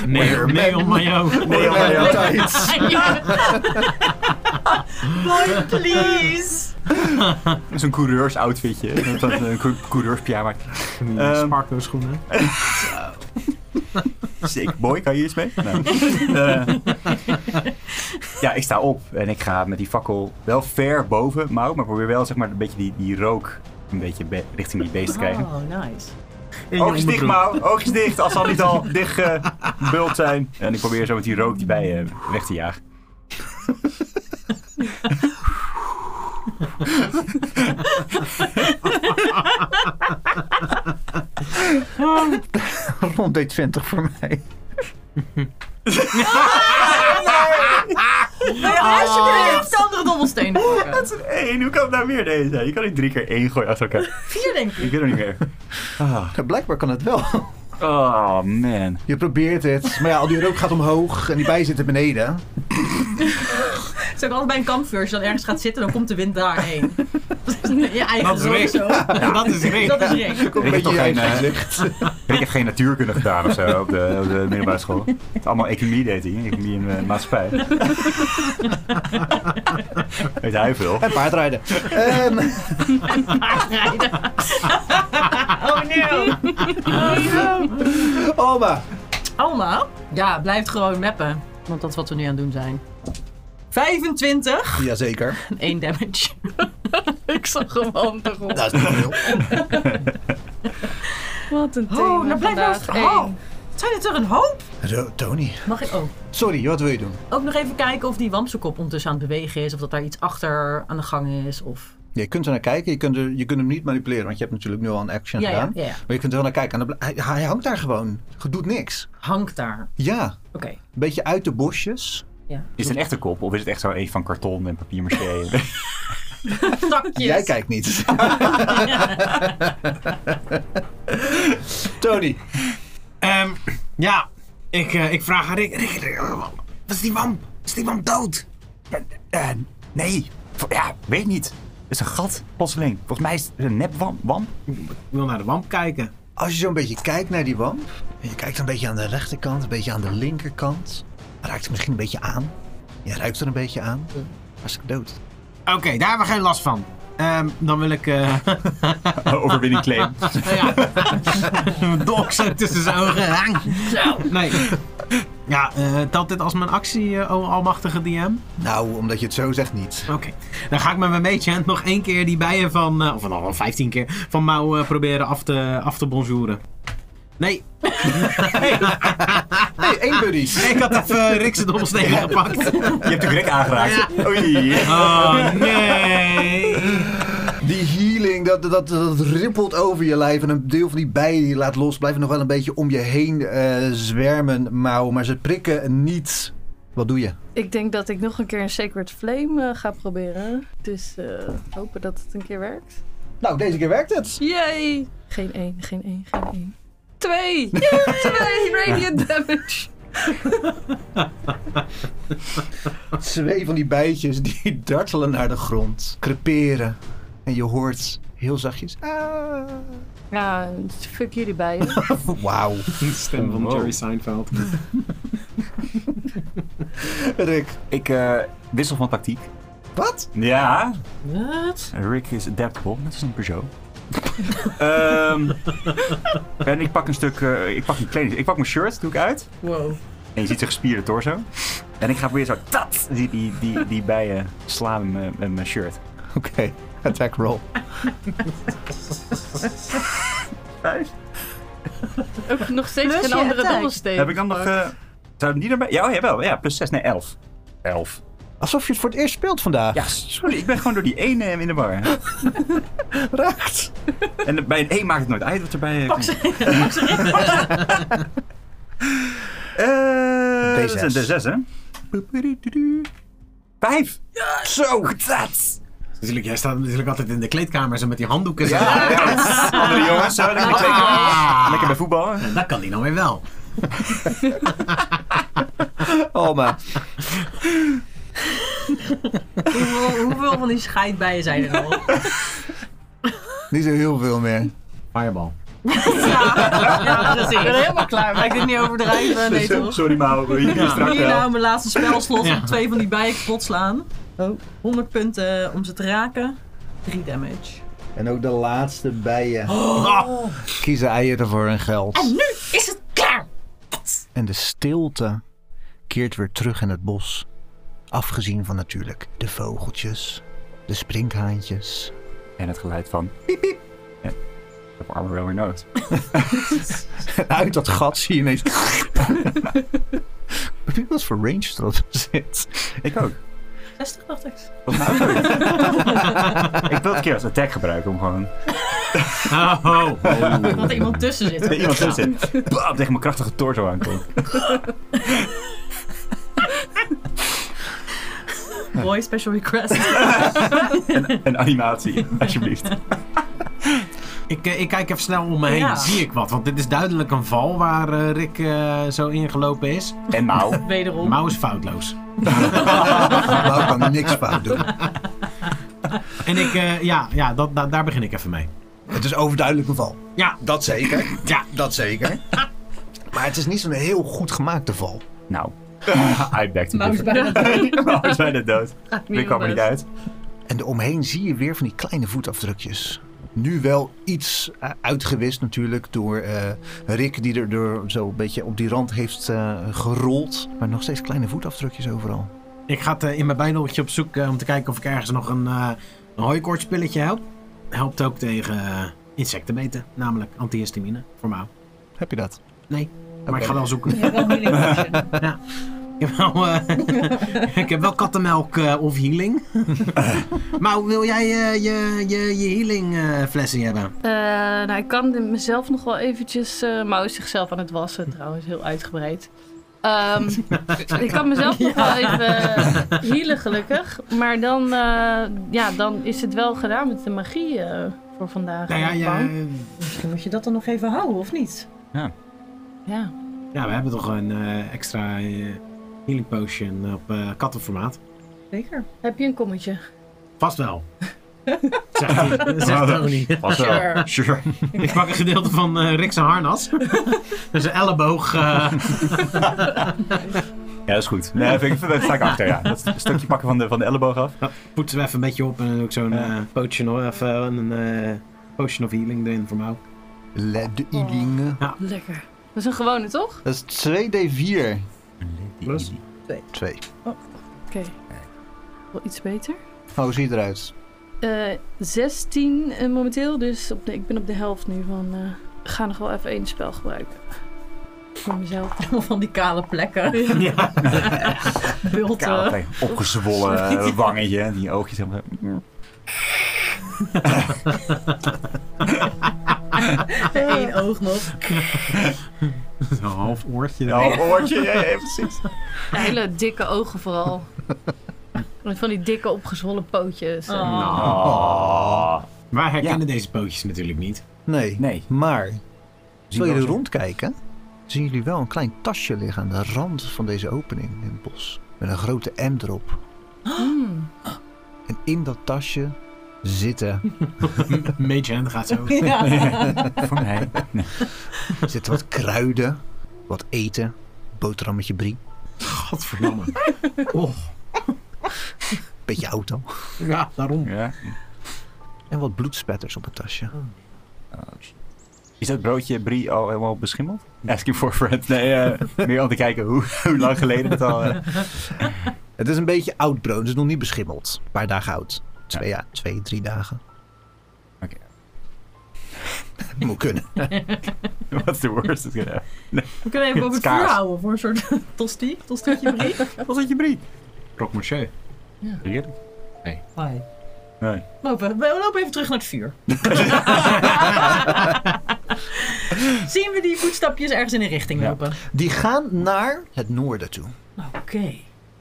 S3: Nee, nee, om mij ook.
S1: Nee,
S5: Ja,
S1: ja, ja.
S6: Boy,
S3: <laughs>
S6: please.
S1: Zo'n coureursoutfitje. Dat was Een cou- coureurspyjama. Ehm,
S3: Sparkle schoenen.
S1: Sick boy, kan je iets mee? Nee. Eh, ja, ik sta op en ik ga met die fakkel wel ver boven Mau, maar probeer wel zeg maar een beetje die, die rook een beetje be- richting die beest te krijgen.
S6: Oh, nice.
S3: In je
S1: Oogjes dicht,
S3: onderbroek.
S1: Mau. Oogjes dicht. Als ze al niet al dicht eh, bult zijn. En ik probeer zo met die rook die bij eh, weg te jagen.
S5: Rond deed 20 voor mij.
S6: Nou ja, alsjeblieft, andere dobbelsteen. <laughs> pakken.
S1: Dat is een één. Hoe kan het nou meer deze zijn? Je kan niet drie keer één gooien achter elkaar.
S6: Vier, denk ik.
S1: Ik wil er niet meer. Ah.
S5: Ja, Blijkbaar kan het wel. <laughs>
S1: Oh, man.
S5: Je probeert het, maar ja, al die rook gaat omhoog en die bijen zitten beneden.
S6: Het is ook altijd bij een kampvuur. Als je dan ergens gaat zitten, dan komt de wind daarheen. <laughs> Je eigen
S3: <laughs> Dat is Rick. <laughs>
S6: sowieso.
S3: Dat is Rick.
S6: Dat is
S3: <laughs>
S6: Rick.
S5: Ook een
S1: Ik heb
S5: beetje
S1: toch
S5: je
S1: geen,
S5: eigen
S1: eh,
S5: gezicht.
S1: Ik heb geen natuurkunde gedaan of zo op de, op de middelbare school. Het is allemaal economie deed hij. Economie en eh, maatschappij. Weet hij veel.
S5: En paardrijden. Ehm, <laughs>
S6: Oh, nee.
S5: Alma,
S6: Alma? Ja, blijft gewoon mappen. Want dat is wat we nu aan het doen zijn. <laughs> 25
S5: jazeker.
S6: en 1 <laughs> damage.
S4: Ik zag gewoon te rond.
S5: Dat is niet veel.
S4: <laughs> Wat een thema
S6: Oh, nou blijf nou
S4: vandaag.
S6: eens- oh.
S4: Eén,
S6: Zijn het er een hoop?
S5: Zo, Tony,
S6: Mag ik ook?
S5: sorry, wat wil je doen?
S6: Ook nog even kijken of die wamsekop ondertussen aan het bewegen is. Of dat daar iets achter aan de gang is. Of...
S5: Ja, je kunt er naar kijken, je kunt, er, je kunt hem niet manipuleren, want je hebt natuurlijk nu al een action
S6: Ja, ja,
S5: gedaan.
S6: ja, ja.
S5: Maar je kunt er wel naar kijken. En dan bl- hij, hij hangt daar gewoon, doet niks.
S6: Hangt daar.
S5: Ja,
S6: Oké.
S5: een beetje uit de bosjes.
S1: Is het een echte kop of is het echt zo een van karton en papier <laughs> maché?
S4: Takjes.
S5: Jij kijkt
S6: <laughs>
S5: niet. Tony,
S3: Ehm, ja, ik, eh, ik vraag aan Rick. Rick, Rick, wat is die man? Is die man dood?
S1: Eh, nee. V- Ja, weet niet. Het is een gat, plotseling. Volgens mij is het een nep wam. wam.
S3: Ik wil naar de wamp kijken.
S5: als je zo'n beetje kijkt naar die wamp. En je kijkt een beetje aan de rechterkant, een beetje aan de linkerkant. Raakt het misschien een beetje aan. Je ruikt er een beetje aan. Hartstikke dood.
S3: Oké, daar hebben we geen last van. Ehm, dan wil ik eh
S1: <laughs> Overwinning claim.
S3: ja, mijn dolk zo tussen zijn ogen. Nee. Ja, eh, telt dit als mijn actie, eh, o almachtige DM?
S5: Nou, omdat je het zo zegt niet.
S3: Oké, dan ga ik met mijn mage hand nog één keer die bijen van, eh, of nou wel 15 keer, van Mouw eh, proberen af te, af te bonjouren. Nee,
S5: Hey, één buddies.
S3: ik had even eh, Rick zijn dobbelstenen gepakt.
S1: Je hebt de Greg aangeraakt. Oei.
S3: Oh nee.
S5: Die healing, dat, dat, dat rippelt over je lijf. En een deel van die bijen die je laat los, blijven nog wel een beetje om je heen eh, zwermen, Mauw. Maar ze prikken niet. Wat doe je?
S4: Ik denk dat ik nog een keer een Sacred Flame eh, ga proberen. Dus eh, hopen dat het een keer werkt.
S5: Nou, deze keer werkt het.
S4: Yay! Geen één, geen één, geen één. <laughs> Twee! Twee radiant damage!
S5: Twee van die bijtjes die <laughs> dartelen naar de grond, creperen. En je hoort heel zachtjes. Ah.
S4: Ja, fuck jullie bijen.
S5: Wauw.
S3: Stem van Jerry Seinfeld.
S5: Rick,
S1: Ik eh, wissel van tactiek.
S5: wat?
S1: Ja.
S6: Wat?
S1: Rick is adaptable. Dat is een <laughs> Peugeot. Ehm, en ik pak een stuk, eh, ik pak een kleding. Ik pak mijn shirt, doe ik uit.
S6: Wow.
S1: En je ziet zijn gespierde torso. En ik ga weer zo, tat, die, die, die, die bijen slaan met mijn- met mijn shirt.
S5: Oké, attack roll.
S4: Ook nog steeds
S6: Plus
S4: geen
S6: je
S4: andere
S6: attack.
S4: dobbelsteen.
S1: Heb ik dan nog, eh zou die erbij? Ja, oh, jawel. Ja, plus 6, nee, 11. 11.
S5: Alsof je het voor het eerst speelt vandaag.
S1: Ja, Ah, sorry, ik ben gewoon door die ene eh, in de bar.
S5: Raakt.
S1: En bij een 1 maakt het nooit uit wat erbij eh, komt. <laughs> Eh, dat is een D6, hè? Vijf! Zo! Dat!
S3: Natuurlijk, jij staat natuurlijk altijd in de kleedkamer zo met die handdoeken. zo.
S1: Andere jongens, zo,
S6: nou
S1: lekker,
S3: Ah,
S1: lekker bij voetballen.
S3: <laughs> dat kan die nou weer wel.
S5: Alma.
S6: Hoeveel, hoeveel van die scheidbijen zijn er <laughs> al?
S5: Niet zo heel veel meer.
S3: Fireball.
S6: Ja, precies. Ik ben er helemaal klaar mee. Ga ik dit niet overdrijven? Nee, toch?
S1: Sorry, Mauro. Hier is straks
S6: Hier
S1: wel.
S6: nou mijn laatste spelslot
S3: Ja.
S6: op twee van die bijen kapot slaan. 100 punten om ze te raken. 3 damage.
S5: En ook de laatste bijen.
S3: Oh.
S5: Kiezen eieren voor hun geld.
S6: Is het klaar?
S5: En de stilte keert weer terug in het bos. Afgezien van natuurlijk de vogeltjes, de sprinkhaantjes.
S1: En het geluid van piep piep. Ja, ik heb armor wel weer nodig.
S5: En uit dat gat zie je ineens... <laughs> Wat voor range dat
S3: <laughs>
S5: zit.
S1: Ik ook.
S6: 60 dacht ik.
S1: Wat nou zo? ik wil het een keer als attack gebruiken om gewoon
S3: Oh, oh.
S6: Dat er iemand tussen zit.
S1: dat iemand tussen zit. Bam, tegen mijn krachtige torso aankomt.
S6: Boy, special request. <laughs>
S1: Een animatie, alsjeblieft.
S3: Ik, eh, ik kijk even snel om me heen.
S6: Ja.
S3: Zie ik wat? Want dit is duidelijk een val waar eh, Rick eh, zo ingelopen is.
S1: En nou? mouw.
S6: Wederom.
S3: Mouw is foutloos.
S5: Wauw kan niks fout doen.
S3: En ik, eh, ja, ja dat, da- daar begin ik even mee.
S5: Het is overduidelijk een val.
S3: Ja,
S5: Dat zeker.
S3: Ja.
S5: dat zeker. Maar het is niet zo'n heel goed gemaakte val.
S1: <laughs> Nou. I back to
S6: Mouw is
S1: different.
S6: bijna
S1: <laughs> Mouw is bijna dood. Ik kwam er niet uit.
S5: En eromheen zie je weer van die kleine voetafdrukjes. Nu wel iets eh, uitgewist natuurlijk door eh, Rick die er door zo een beetje op die rand heeft eh, gerold. Maar nog steeds kleine voetafdrukjes overal.
S3: ik ga het, eh, in mijn bijnootje op zoek eh, om te kijken of ik ergens nog een, eh een hooikoortspilletje help. Helpt ook tegen eh, insectenbeten, namelijk antihistamine voor mouw.
S5: Heb je dat?
S3: Nee.
S5: Oké.
S3: Maar ik ga wel zoeken.
S6: Je hebt wel healing potion.
S3: Ik heb wel, eh, ik heb wel kattenmelk eh, of healing. maar wil jij eh, je, je, je healing eh, flesje hebben?
S4: Eh, nou, ik kan dit mezelf nog wel eventjes... eh Mouw is zichzelf aan het wassen trouwens, heel uitgebreid. Ehm,
S1: <laughs>
S4: ik kan mezelf nog wel even hielen gelukkig. Maar dan, eh, ja, dan is het wel gedaan met de magie eh, voor vandaag. eh,
S3: Nou ja, ja,
S4: Bang.
S6: Misschien moet je dat dan nog even houden, of niet?
S4: ja.
S3: ja, we hebben toch een eh, extra eh, healing potion op eh, kattenformaat.
S6: Zeker.
S4: Heb je een kommetje?
S3: Vast wel. Zegt hij. <laughs> Zegt Tony.
S1: Was wel. Sure.
S3: Ik pak een gedeelte van eh Rick zijn <laughs> harnas. dus een elleboog. eh,
S1: Ja, dat is goed. Nee, vind ik, daar sta ik achter, ja. Dat stukje pakken van de, van de elleboog af.
S3: poetsen we even een beetje op en dan doe ik zo'n eh potion, of- of, eh, een eh, potion of healing erin voor mij.
S5: Let de Idingen.
S4: Lekker. Dat is een gewone, toch?
S5: Dat is 2d4.
S3: Plus?
S5: 2.
S4: Oké. Wel iets beter.
S5: Oh, hoe ziet het eruit?
S4: Eh, 16 eh, momenteel, dus op de, ik ben op de helft nu van... eh, ik ga nog wel even één spel gebruiken. Voor <laughs> mezelf.
S6: Allemaal <laughs> van die kale plekken. <laughs> eh,
S3: Ja.
S1: Kaal,
S6: Bulten.
S1: kijk,
S3: <laughs>
S1: <laughs> opgezwollen eh, wangetje. en Die oogjes helemaal...
S6: <laughs> Eén oog nog.
S1: <laughs>
S3: Zo'n half oortje.
S1: Ja, een oortje. Ja, ja, precies.
S4: Hele dikke ogen vooral. Met van die dikke opgezwollen pootjes. en-
S1: Ah.
S4: <laughs>
S6: Oh.
S1: Oh.
S3: Maar herkennen deze pootjes natuurlijk niet.
S5: Nee.
S1: Nee.
S5: Maar,
S1: Zien
S5: zul je
S1: we
S5: er
S1: zo.
S5: rondkijken, zien jullie wel een klein tasje liggen aan de rand van deze opening in het bos. Met een grote M erop.
S4: Mm.
S5: En in dat tasje zitten,
S3: Mage Hand gaat zo.
S6: Ja.
S1: Voor mij. Nee.
S5: zitten wat kruiden, wat eten, boterhammetje brie,
S3: Godverdomme. Oh,
S5: beetje auto.
S3: ja,
S1: <laughs>
S3: daarom.
S1: Ja.
S5: En wat bloedspetters op het tasje.
S1: Is dat broodje brie al helemaal beschimmeld? Asking for a friend. Nee, eh, meer om te kijken hoe, <laughs> hoe lang geleden het al... eh,
S5: Het is een beetje oud brood, het is nog niet beschimmeld. Een paar dagen oud. Twee, ja. twee drie dagen.
S1: Oké.
S5: <laughs> Moet kunnen.
S1: What's the worst? that's gonna happen?
S6: We kunnen even
S1: Het
S6: over
S1: is
S6: het vuur
S1: kaas.
S6: houden voor een soort <laughs> tosti.
S1: <laughs>
S6: Tostietje brie.
S1: Wat is dat je brie?
S3: Croque-monsieur.
S1: Heerlijk.
S6: Hi.
S1: Nee.
S6: Lopen. We lopen even terug naar het
S1: <laughs>
S6: vuur. Zien we die voetstapjes ergens in een richting
S1: Ja.
S6: lopen?
S5: Die gaan naar het noorden toe.
S6: Oké.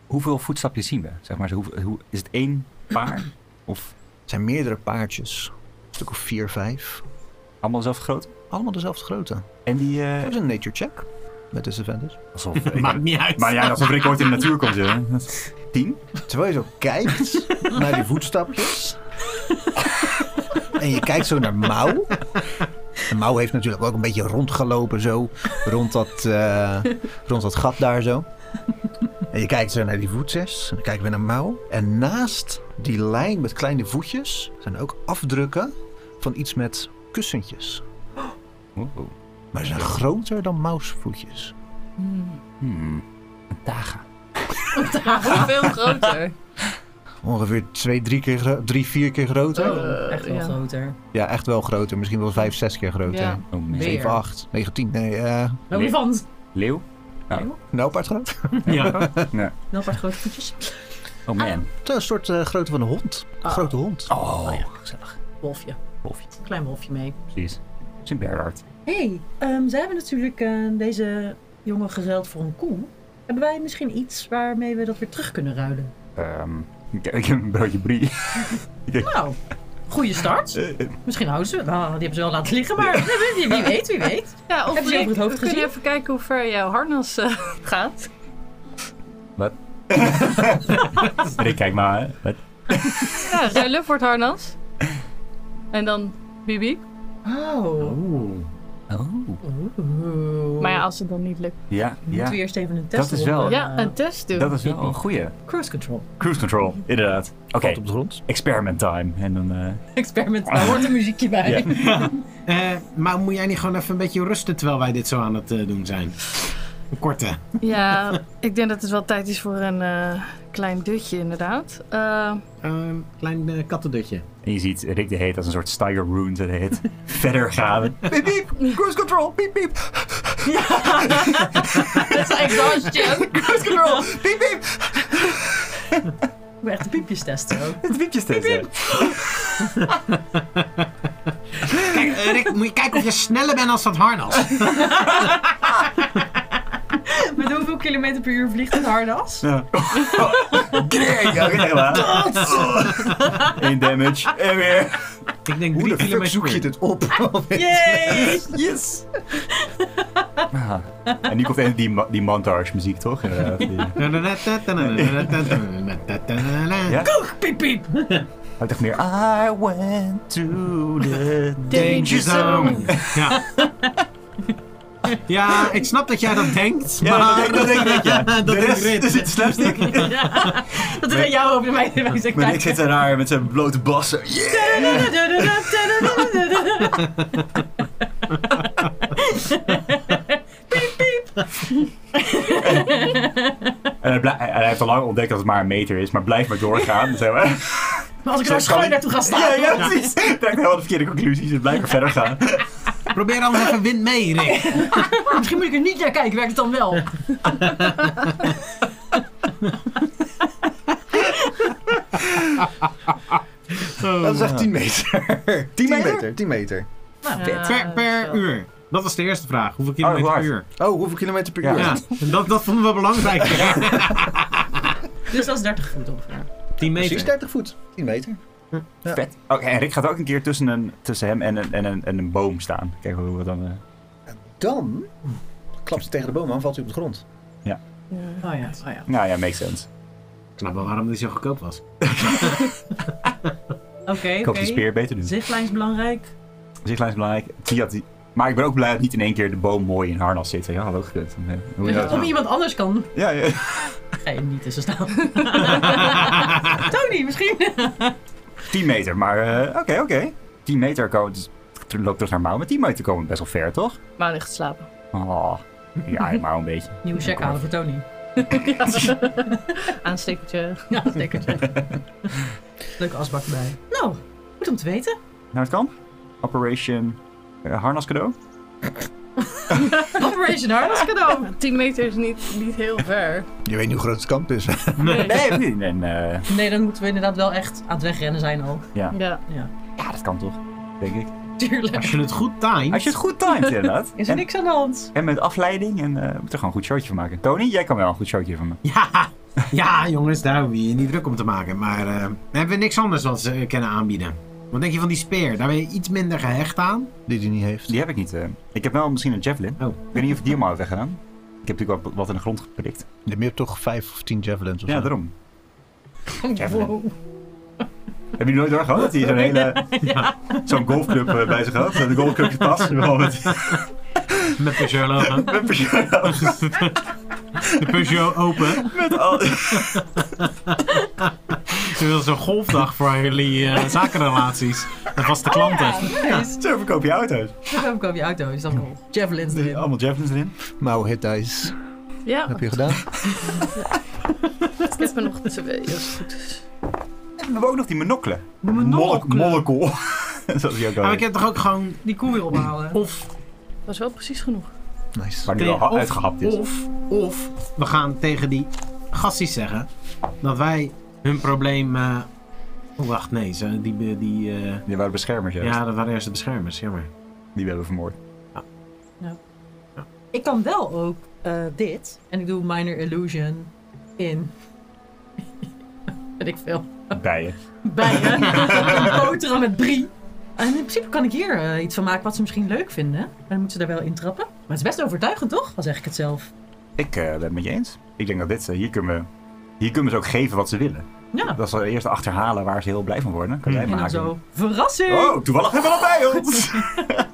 S1: Hoeveel voetstapjes zien we? Zeg maar, zo hoeveel- hoe, is het één paar? Of
S5: Het zijn meerdere paardjes. Een stuk of vier, vijf.
S1: allemaal zelf groot?
S5: Allemaal dezelfde grootte.
S1: En die... eh,
S5: Dat is een nature check. Met disadvantage.
S1: alsof, ik-
S3: <laughs> Maakt niet uit.
S1: maar ja, alsof Rick ooit in de natuur komt. hè. Dat is- Tien?
S5: Terwijl je zo kijkt naar die voetstapjes. en je kijkt zo naar Mouw. En Mouw heeft natuurlijk ook een beetje rondgelopen zo. Rond dat, eh, rond dat gat daar zo. En je kijkt zo naar die voetjes. En dan kijken we naar Mouw. En naast die lijn met kleine voetjes zijn ook afdrukken van iets met kussentjes.
S1: Oeh, oeh.
S5: Maar ze zijn groter dan Mouws voetjes.
S1: Hmm. Een daga.
S4: Veel <laughs> groter.
S5: Ongeveer twee, drie, keer, gro- drie vier keer groter.
S4: Eh,
S6: Oh, echt wel
S4: ja.
S6: groter.
S5: Ja, echt wel groter. Misschien wel vijf, zes keer groter.
S4: Ja.
S1: Oh, nee.
S6: Weer. Oh,
S5: 7, 8, 9, 10. Nee, eh
S6: Olifant.
S1: Leeuw?
S5: nou, paard groot.
S3: Ja.
S6: Wel een paar grote voetjes.
S1: Oh man.
S5: Het is <laughs> Een soort eh, grootte van een hond. Een
S6: Ah.
S5: grote hond.
S1: Oh,
S6: Oh ja, gezellig. Wolfje.
S1: Wolfje.
S6: Een klein wolfje mee.
S1: precies. Het is een bergart.
S6: hey, ehm, zij hebben natuurlijk eh, deze jongen gezeld voor een koe. Hebben wij misschien iets waarmee we dat weer terug kunnen ruilen?
S1: Ehm, ik, ik heb een broodje brie.
S6: Nou, goede start.
S1: Eh, eh,
S6: Misschien houden ze het. Nou, die hebben ze wel laten liggen, maar wie <laughs> wie weet, wie weet.
S4: Ja, of
S6: Heb je
S4: Rick,
S6: over het hoofd
S4: we kunnen
S6: gezien?
S4: even kijken hoe ver jouw harnas eh, <laughs> gaat.
S1: Rick, kijk <laughs> maar. hè. Wat?
S4: Ja, ruilen voor het harnas. En dan Bibi.
S6: Oh.
S3: Oeh.
S1: Oh.
S4: Maar ja, als het dan niet lukt.
S1: Ja,
S6: Moeten
S1: ja.
S6: we eerst even een test
S1: Dat is wel-
S6: doen?
S4: Ja, een test doen.
S1: Dat is wel een goeie.
S6: Cruise control. <laughs>
S1: Cruise control, inderdaad. Oké,
S5: Valt op de grond.
S1: experiment time. En dan... eh,
S6: Experiment. Daar hoort een muziekje bij.
S1: Ja.
S3: <laughs> Eh, maar moet jij niet gewoon even een beetje rusten terwijl wij dit zo aan het eh, doen zijn? Een korte.
S4: Ja, ik denk dat het wel tijd is voor een eh, klein dutje inderdaad. Eh,
S3: Eh, klein eh, kattendutje.
S1: En je ziet Rick de <laughs> Heet als een soort Tiger Wound de Heet verder gaan. Piep, piep, cruise control, piep, piep.
S6: <laughs> Dat is exhaustion.
S4: <laughs>
S6: Cruise control.
S1: Piep, piep.
S6: Ik moet echt de piepjes testen ook.
S1: Het piepjes testen.
S3: Kijk, eh, Rick, moet je kijken of je sneller bent als dat harnas.
S6: Met hoeveel kilometer per uur vliegt het harnas?
S1: Nou. Oké, oké, <laughs> maar. Eén damage. En weer.
S3: Ik denk
S5: Hoe
S3: drie
S5: de fuck
S3: kilometer
S5: zoek
S3: per
S5: je
S3: uur.
S5: dit op? <laughs>
S6: Yay!
S1: Yes. En nu komt even die, ma- die montage muziek, toch? Inderdaad, die- Ja?
S6: Piep, piep.
S1: Hij heeft echt meer. I went to the
S3: Danger zone. Ja. ja, ik snap dat jij dat denkt.
S1: Ja, dat denk- dat denk ik, ja. De
S3: denk
S1: rest
S3: ik.
S1: is het slapstick.
S6: Dat is aan jou over mij. Wij zijn
S1: Maar ik
S6: kijken.
S1: zit daar met zijn blote bassen. Yeah. En hij, blij- en hij heeft al lang ontdekt dat het maar een meter is, maar blijft maar doorgaan. Dus hij-
S6: Maar als ik daar schuin naartoe ga staan.
S1: <laughs> ja, ja, precies. Trekt helemaal de verkeerde conclusies en blijft maar verder gaan.
S3: Probeer dan even wind mee, Rick.
S6: Misschien moet ik er niet naar kijken. Werkt het dan wel?
S5: Dat is echt 10 <laughs> meter. 10
S1: meter?
S5: 10 meter.
S6: Ja,
S3: Per, per
S6: zo.
S3: uur. Dat was de eerste vraag. Hoeveel kilometer
S1: hoe
S3: per
S1: hard?
S3: uur?
S5: Oh, hoeveel kilometer per
S1: Ja.
S5: uur?
S3: Ja, dat, dat vonden we
S5: <laughs>
S3: belangrijk.
S6: Dus dat is 30 voet ongeveer.
S3: 10
S5: Precies
S3: meter.
S5: 30 voet. 10 meter. Ja.
S1: Vet. Oké, en Rick gaat ook een keer tussen, een, tussen hem en een, en, een, en een boom staan. Kijk hoe we dan... eh,
S5: Dan klapt ze tegen de boom aan, valt hij op de grond.
S6: Oh ja, oh ja.
S1: Nou ja, makes sense.
S3: Ik snap wel waarom die zo goedkoop was.
S6: Oké,
S1: Ik
S6: oké.
S1: hoop die speer beter doet.
S6: Zichtlijn is belangrijk.
S1: Zichtlijn is belangrijk. Fiat, die- Maar ik ben ook blij dat niet in één keer de boom mooi in harnas zit. Ja, had ook gekund. Nee. Hoe
S6: Of
S1: je dat-
S6: iemand anders kan.
S1: Ja, ja.
S6: Ga je niet tussen
S1: <laughs>
S6: staan. Tony, misschien.
S1: 10 meter, maar eh, oké, oké. 10 meter komen, dus het loopt terug naar Mouw. Met 10 meter komen we best wel ver, toch?
S4: Maar ligt te slapen.
S1: Oh, ja, Mouw een beetje.
S6: Nieuwe check halen voor Tony.
S4: Aanstekertje.
S6: Ja,
S1: <laughs>
S6: stekkertje. Leuke asbak erbij. Nou, goed om te weten.
S1: Nou, het kan. Operation eh, harnas cadeau.
S6: Operation Harnas cadeau.
S4: <laughs> 10 meter is niet, niet heel ver.
S5: Je weet niet hoe groot het kamp is.
S1: Nee, nee, en, eh,
S6: Nee, dan moeten we inderdaad wel echt aan het wegrennen zijn al.
S4: Ja.
S1: ja, dat kan toch, denk ik.
S6: Tuurlijk.
S3: Als je het goed timed.
S1: Als je het goed timed, <laughs> inderdaad.
S6: Is er
S1: en,
S6: niks aan de hand?
S1: en met afleiding en eh, we moeten er gewoon een goed showtje van maken. Tony, jij kan wel een goed showtje van maken.
S3: Ja, ja, jongens, daar hoef je je niet druk om te maken. Maar eh, hebben we niks anders wat ze eh, kunnen aanbieden? Wat denk je van die speer? Daar ben je iets minder gehecht aan.
S5: <laughs> Die hij niet heeft.
S1: Die heb ik niet. eh. ik heb wel misschien een javelin.
S3: Oh.
S1: Ik weet niet of ik die hem al heb weggedaan. Ik heb natuurlijk wat, wat in de grond geprikt.
S5: Je hebt toch 5 of 10 javelins of
S1: Ja,
S5: zo?
S1: daarom. Javelin. Heb je nooit doorgehad Oh, dat hij
S3: <laughs>
S1: zo'n hele... Zo'n golfclub eh, bij zich had? De golfclub <laughs> pas. Wel met,
S3: Met Peugeot logo.
S1: <laughs> met persoon-
S3: De Peugeot open.
S1: met al-
S3: Ze wil zo'n golfdag voor jullie eh, zakenrelaties. En vaste klanten.
S6: nice.
S1: Zo verkoop je auto's.
S6: <laughs> Dan heb ik over je auto. Is dan wel javelins erin.
S1: Allemaal javelins erin.
S5: Mouw Hittites. <laughs>
S4: Ja,
S5: Heb je gedaan?
S4: ik heb er nog twee. Dat is goed.
S1: En we hebben ook nog die monocle.
S6: Monocle.
S1: Monocle. <laughs> Zoals die ook al
S3: Maar ik
S1: heet.
S3: heb toch ook gewoon
S6: Die koe weer
S3: <laughs>
S6: ophalen.
S3: of
S4: was wel precies genoeg.
S5: Nice.
S1: Waar nu al
S3: Of-
S1: uitgehapt is.
S3: Of, of we gaan tegen die gasties zeggen dat wij hun probleem. eh, oh, wacht, nee, ze, die. be- die eh,
S1: Die waren beschermers juist.
S3: ja, dat waren eerst de beschermers, jammer.
S1: Die werden we vermoord.
S6: Ik kan wel ook eh, dit. En ik doe Minor Illusion in. <laughs> Weet ik veel.
S1: Bijen.
S6: Bijen. Een Boteren met drie. En in principe kan ik hier eh, iets van maken wat ze misschien leuk vinden. Maar dan moeten ze daar wel in trappen. Maar het is best overtuigend, toch? Al zeg ik het zelf.
S1: Ik eh, ben het met je eens. Ik denk dat dit... eh, hier, kunnen we, hier kunnen we ze ook geven wat ze willen.
S6: Ja.
S1: Dat ze eerst achterhalen waar ze heel blij van worden. Kan jij
S6: En dan
S1: maken.
S6: zo, verrassing!
S1: Oh, toevallig hebben we dat bij ons. <laughs>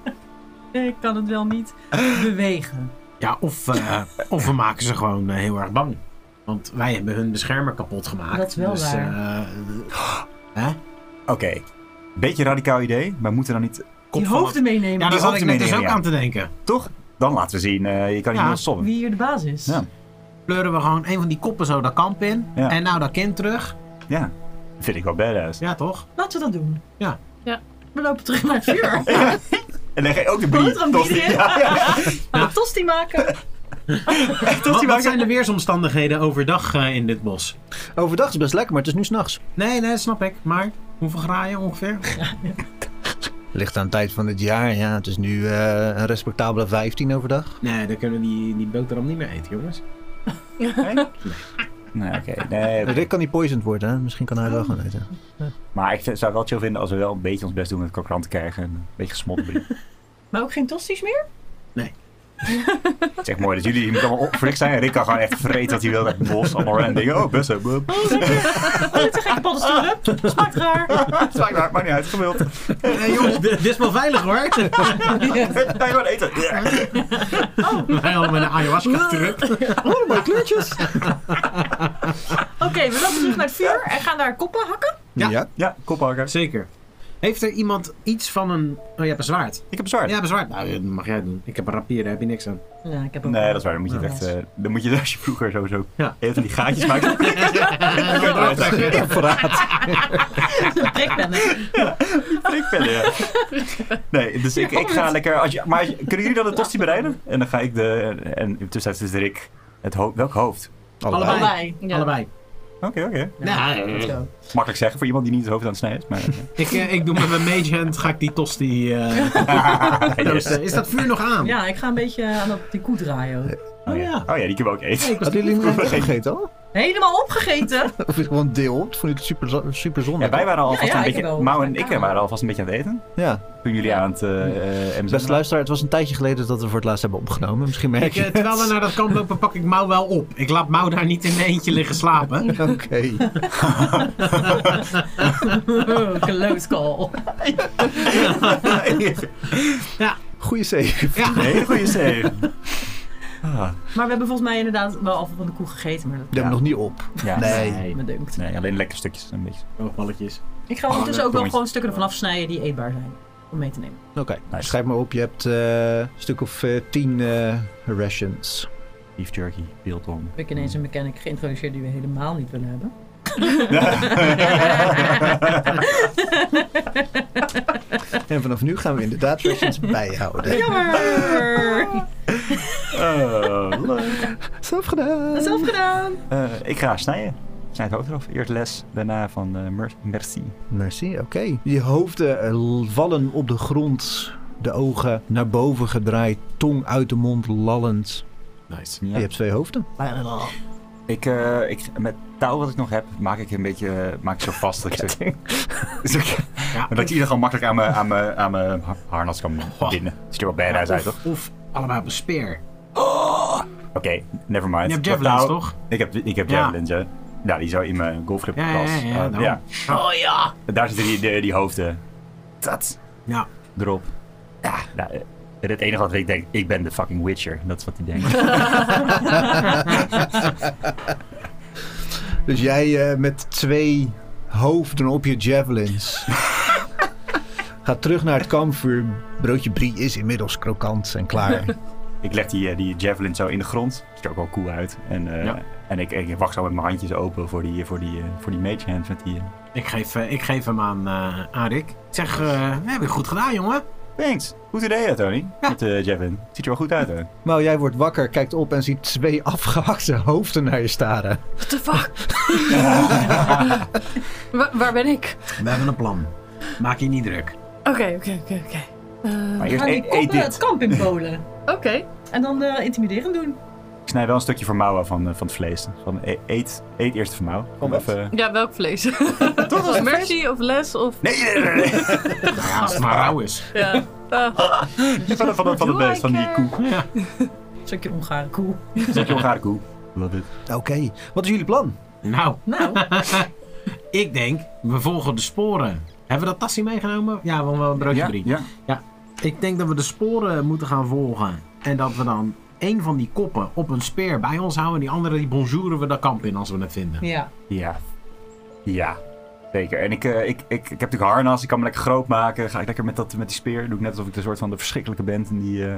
S6: Ik kan het wel niet bewegen.
S3: Ja, of,
S1: <laughs>
S3: eh, of we maken ze gewoon eh, heel erg bang. Want wij hebben hun beschermer kapot gemaakt.
S6: Dat is wel
S3: dus,
S6: waar.
S3: eh, hè?
S1: Oké. Beetje radicaal idee, maar moeten dan niet...
S3: Kop
S6: Die
S3: van
S6: hoofden meenemen.
S3: Ja, daar
S1: hoofd
S3: zat ik net dus
S1: meenemen,
S3: ook
S1: ja.
S3: aan te denken.
S1: Toch? Dan laten we zien. eh, je kan niet
S3: Ja,
S1: meer sollen.
S6: Wie hier de baas is.
S1: Ja.
S3: Pleuren we gewoon een van die koppen zo dat kamp in.
S1: Ja.
S3: En nou dat kind terug.
S1: Ja. Vind ik wel badass.
S3: Ja, toch?
S6: Laten we dat doen.
S3: Ja.
S4: Ja.
S6: We lopen terug naar het vuur.
S1: En leg jij ook de bier.
S6: Boter en bier
S1: tosti.
S6: in.
S1: Ja, ja, ja.
S6: <laughs> Gaan we tosti maken?
S1: Tosti
S3: Wat, wat
S1: maken.
S3: zijn de weersomstandigheden overdag eh, in dit bos?
S5: Overdag is het best lekker, maar het is nu s'nachts.
S3: Nee, nee, snap ik. Maar hoeveel graaien ongeveer?
S5: Ligt aan de tijd van het jaar. Ja, het is nu eh, een respectabele 15 overdag.
S3: Nee, dan kunnen we die, die boterham niet meer eten, jongens.
S1: Nee, oké. nee, oké.
S5: Rick kan niet poisoned worden, hè? misschien kan hij wel gaan eten.
S1: Maar ik zou het wel chill vinden als we wel een beetje ons best doen met krokant te krijgen. en Een beetje gesmolten bier. <laughs>
S6: Maar ook geen tosti's meer?
S1: Het is echt mooi dat jullie hier niet allemaal opfrikt zijn. Rick kan gewoon echt vreten wat hij wil. Echt bos, allemaal random dingen. Oh, best wel.
S6: Oh, Gekke paddenstoelen? Smaakt raar.
S1: <laughs> Het maakt niet uit, maakt niet uit. <laughs> Gemiddeld.
S3: Nee, jongens, <laughs> dit dit is wel veilig hoor. eh,
S1: Ga je gewoon eten. Ja.
S3: Wij allemaal een ayahuasca terug.
S6: Oh, mooie kleurtjes. Oké, we lopen terug naar het vuur en gaan daar koppen hakken.
S3: Ja.
S1: Ja, kophakken.
S3: Zeker. Heeft er iemand iets van een... Oh, je hebt een zwaard.
S1: Ik heb zwaard.
S3: Ja, een zwaard. Nou, dat mag jij doen. Ik heb een rapier, daar heb je niks aan.
S6: Ja, ik heb ook
S1: Nee, dat is waar. Dan
S3: Oh,
S1: moet je het echt... eh, dan moet je als je vroeger sowieso heel van die
S3: <laughs>
S1: gaatjes maakt. <laughs> Dan kun je eruit trekken.
S6: een prikpen.
S1: Ik ben ja. Nee, dus ik, ik ga lekker... Als je, maar als je- kunnen jullie dan de tosti bereiden? En dan ga ik de... En tussen is Rick het hoofd... Welk hoofd?
S3: Allebei.
S6: Allebei. Ja.
S3: Allebei.
S1: Oké, oké.
S3: Nou, eh,
S1: Makkelijk zeggen voor iemand die niet het hoofd aan het snijden is. Maar,
S3: ik, eh, ik doe met mijn mage hand, ga ik die tosti eh,
S1: Yes.
S3: toasten. Is dat vuur nog aan?
S6: Ja, ik ga een beetje aan dat, die koe draaien. ook.
S1: <laughs> Oh ja. Oh ja, die kunnen we ook eten.
S3: Ik was
S5: Hadden jullie niet
S1: Geen-
S5: gegeten al?
S6: Helemaal opgegeten.
S5: Of is gewoon deel? Dat vond ik super, super zonde.
S1: Ja, wij waren alvast
S6: Ja, ja,
S1: een
S6: ik
S1: beetje...
S6: wel.
S1: Mouw en ik waren alvast een beetje aan het eten.
S5: Ja.
S1: Toen jullie aan het... eh eh, MZ
S5: Beste luisteraar, het was een tijdje geleden dat we voor het laatst hebben opgenomen. Misschien merk
S3: Ik,
S5: je
S3: eh, terwijl we naar dat kamp lopen, pak ik Mouw wel op. Ik laat Mouw daar niet in mijn eentje liggen <laughs> slapen.
S5: <laughs> Oké.
S6: Oh, Close call.
S5: Goeie save.
S3: Ja.
S1: Hele goede save.
S6: Maar we hebben volgens mij inderdaad wel af van de koe gegeten. Maar dat
S5: Die hebben we nog niet op.
S1: Ja.
S5: Nee.
S3: Nee,
S6: me dunkt.
S1: Nee, alleen lekkere stukjes. Een beetje.
S3: balletjes.
S6: Ik ga ondertussen ook wel
S1: Tongetje.
S6: gewoon stukken ervan afsnijden die eetbaar zijn. Om mee te nemen.
S5: Oké. Schrijf maar op, je hebt eh, een stuk of eh, tien eh, rations.
S1: Beef jerky, biltong.
S6: Heb ik ineens een mechanic geïntroduceerd die we helemaal niet willen
S1: <laughs>
S6: hebben.
S5: En vanaf nu gaan we inderdaad rations bijhouden.
S6: Jammer!
S1: Eh, leuk.
S5: Zelf gedaan.
S6: Zelf gedaan!
S1: Eh, ik ga snijden. Snijd het hoofd eraf. Eerst les, daarna van eh, mer- merci.
S5: Merci, oké. Die hoofden eh, l- vallen op de grond. De ogen naar boven gedraaid, tong uit de mond lallend.
S3: Nice.
S5: Je hebt twee hoofden.
S1: Ik, eh, ik, met touw wat ik nog heb, maak ik een beetje eh, maak ik zo vast. <laughs> Dat ik, zo, Dus ik-
S3: Ja.
S1: dat ik ieder gewoon makkelijk aan mijn, aan mijn, aan mijn ha- harnas kan binden. Ziet er wel badass uit, toch?
S3: Of, of allemaal op een speer.
S1: Oké, never mind.
S3: Je
S1: Met
S3: hebt javelins,
S1: touw-
S3: toch?
S1: Ik heb, ik heb
S3: Ja.
S1: javelins, ja. Ja, die zou in mijn golfgrip
S3: Ja, ja, ja, ja, daarom.
S6: Oh ja!
S1: Daar zitten die, die, die hoofden. Dat.
S3: Ja.
S1: erop. Ja, nou, eh, het enige wat ik denk, ik ben de fucking Witcher. Dat is wat
S3: <laughs>
S1: hij denkt.
S5: Dus jij eh, met twee hoofden op je javelins. Gaat terug naar het kampvuur. Broodje brie is inmiddels krokant en klaar.
S1: ik leg die, eh, die javelin zo in de grond. Ziet er ook wel cool uit. En, eh,
S3: Ja.
S1: en ik, ik wacht zo met mijn handjes open voor die, voor die, eh, voor die mage hand. Met die, eh,
S3: Ik geef, eh, ik geef hem aan, eh aan Rick. Ik zeg, eh we hebben je goed gedaan, jongen.
S1: Thanks. Goed idee, hè, Tony. Met de javelin. Ziet er wel goed uit, hè?
S3: Eh,
S5: Maar jij wordt wakker, kijkt op en ziet twee afgehakte hoofden naar je staren.
S4: What the fuck? Wa- waar ben ik?
S3: We hebben een plan. Maak je niet druk.
S4: Oké, oké, oké, oké. Eh,
S1: Maar
S6: We
S1: eerst e-
S6: gaan die
S1: eet, eet
S6: koppen
S1: dit.
S6: het kamp in Polen.
S4: Oké.
S6: En dan eh, intimiderend doen.
S1: Ik snij wel een stukje van mouwen van, eh, van het vlees. Van, eh, eet, eet eerst van mouw. Kom even.
S4: Ja, welk vlees? Toch Mercy of les of...
S1: Nee, nee, nee,
S4: <laughs>
S1: nee.
S3: Nou ja, als het maar rauw is.
S4: Ja. Ah,
S1: Van, van, van, van het
S4: Doe
S1: beest, van die
S4: ik, eh,
S1: koe.
S6: Een stukje Ongare koe.
S1: Een stukje Hongaarse koe. Love it.
S5: Oké, wat is jullie plan?
S3: Nou,
S6: <laughs> Nou,
S3: ik denk, we volgen de sporen. Hebben we dat tassie meegenomen? Ja, we hebben wel een broodje
S1: Ja,
S3: drie.
S1: ja.
S3: Ik denk dat we de sporen moeten gaan volgen. En dat we dan één van die koppen op een speer bij ons houden. En die andere die bonjouren we dat kamp in als we het vinden.
S6: ja.
S1: Ja. Ja. Zeker. En ik, eh, ik, ik, ik heb natuurlijk een harnas, ik kan me lekker groot maken. Ga ik lekker met, dat, met die speer. Doe ik net alsof ik een soort van de verschrikkelijke ben. En die, eh,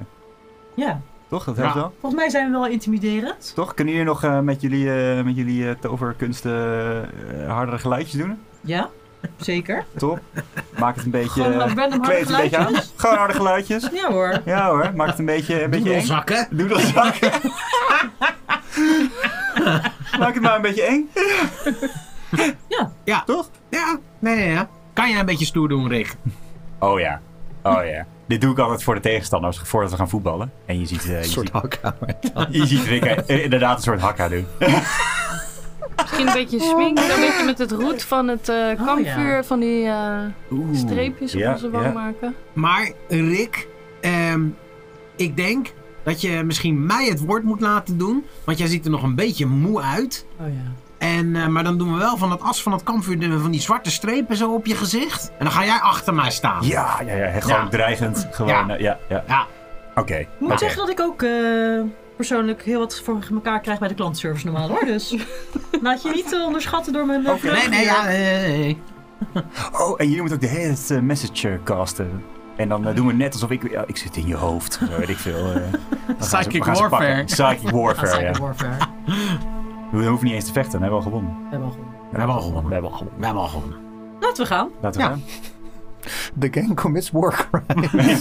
S6: Ja.
S1: toch? Dat
S3: Ja.
S1: helpt wel.
S6: Volgens mij zijn we wel intimiderend.
S1: Toch? Kunnen jullie nog eh, met jullie, eh, met jullie eh, toverkunsten eh, hardere geluidjes doen?
S6: Ja, zeker.
S1: Top. Maak het een beetje...
S6: Gewoon random harde
S1: kleed het een beetje aan.
S6: geluidjes.
S1: Gewoon harde geluidjes.
S6: Ja hoor.
S1: Ja hoor, maak het een beetje... Een beetje eng.
S3: Doedelzakken.
S1: Doedelzakken. <laughs> maak het maar een beetje eng.
S3: Ja.
S1: Toch?
S3: Ja. Nee, ja, ja. Kan jij een beetje stoer doen, Rick?
S1: Oh ja. Oh ja. Dit doe ik altijd voor de tegenstanders, voordat we gaan voetballen. En je ziet, eh, je ziet,
S5: hakkamer.
S1: je ziet Rick eh, <laughs> inderdaad een soort hakka doen.
S4: Misschien een beetje swing, een beetje met het roet van het eh, kampvuur, van die eh, streepjes op
S1: Oh, ja,
S4: onze wang
S1: ja.
S4: maken.
S3: Maar Rick, ehm, ik denk dat je misschien mij het woord moet laten doen. Want jij ziet er nog een beetje moe uit.
S6: Oh ja.
S3: En, eh, maar dan doen we wel van dat as van het kampvuur doen we van die zwarte strepen zo op je gezicht. En dan ga jij achter mij staan.
S1: Ja, ja, ja. Gewoon
S3: Ja.
S1: dreigend. Gewoon,
S3: Ja.
S1: eh, ja, ja.
S3: Ja.
S1: Oké.
S6: Ik moet
S1: oké.
S6: zeggen dat ik ook eh, persoonlijk heel wat voor elkaar krijg bij de klantservice normaal hoor. <laughs> Dus laat je niet eh, onderschatten door mijn eh,
S3: Nee,
S6: vreugde
S3: nee,
S6: hier.
S3: ja. nee, nee, nee.
S1: Oh, en jullie moeten ook de hele tijd, eh, message eh, casten. En dan eh, doen we net alsof ik... Ja, ik zit in je hoofd. Zo weet ik veel. eh. Dan gaan ze-
S3: Psychic
S1: we gaan ze
S3: warfare.
S1: pakken. Psychic warfare, ja.
S6: Cyber warfare.
S1: We hoeven niet eens te vechten. We hebben al gewonnen.
S6: We hebben al gewonnen.
S1: We
S3: hebben al gewonnen.
S1: We hebben al gewonnen.
S3: We hebben al gewonnen.
S6: Laten we gaan.
S1: Laten we
S3: Ja.
S1: gaan.
S5: The gang commits war crimes.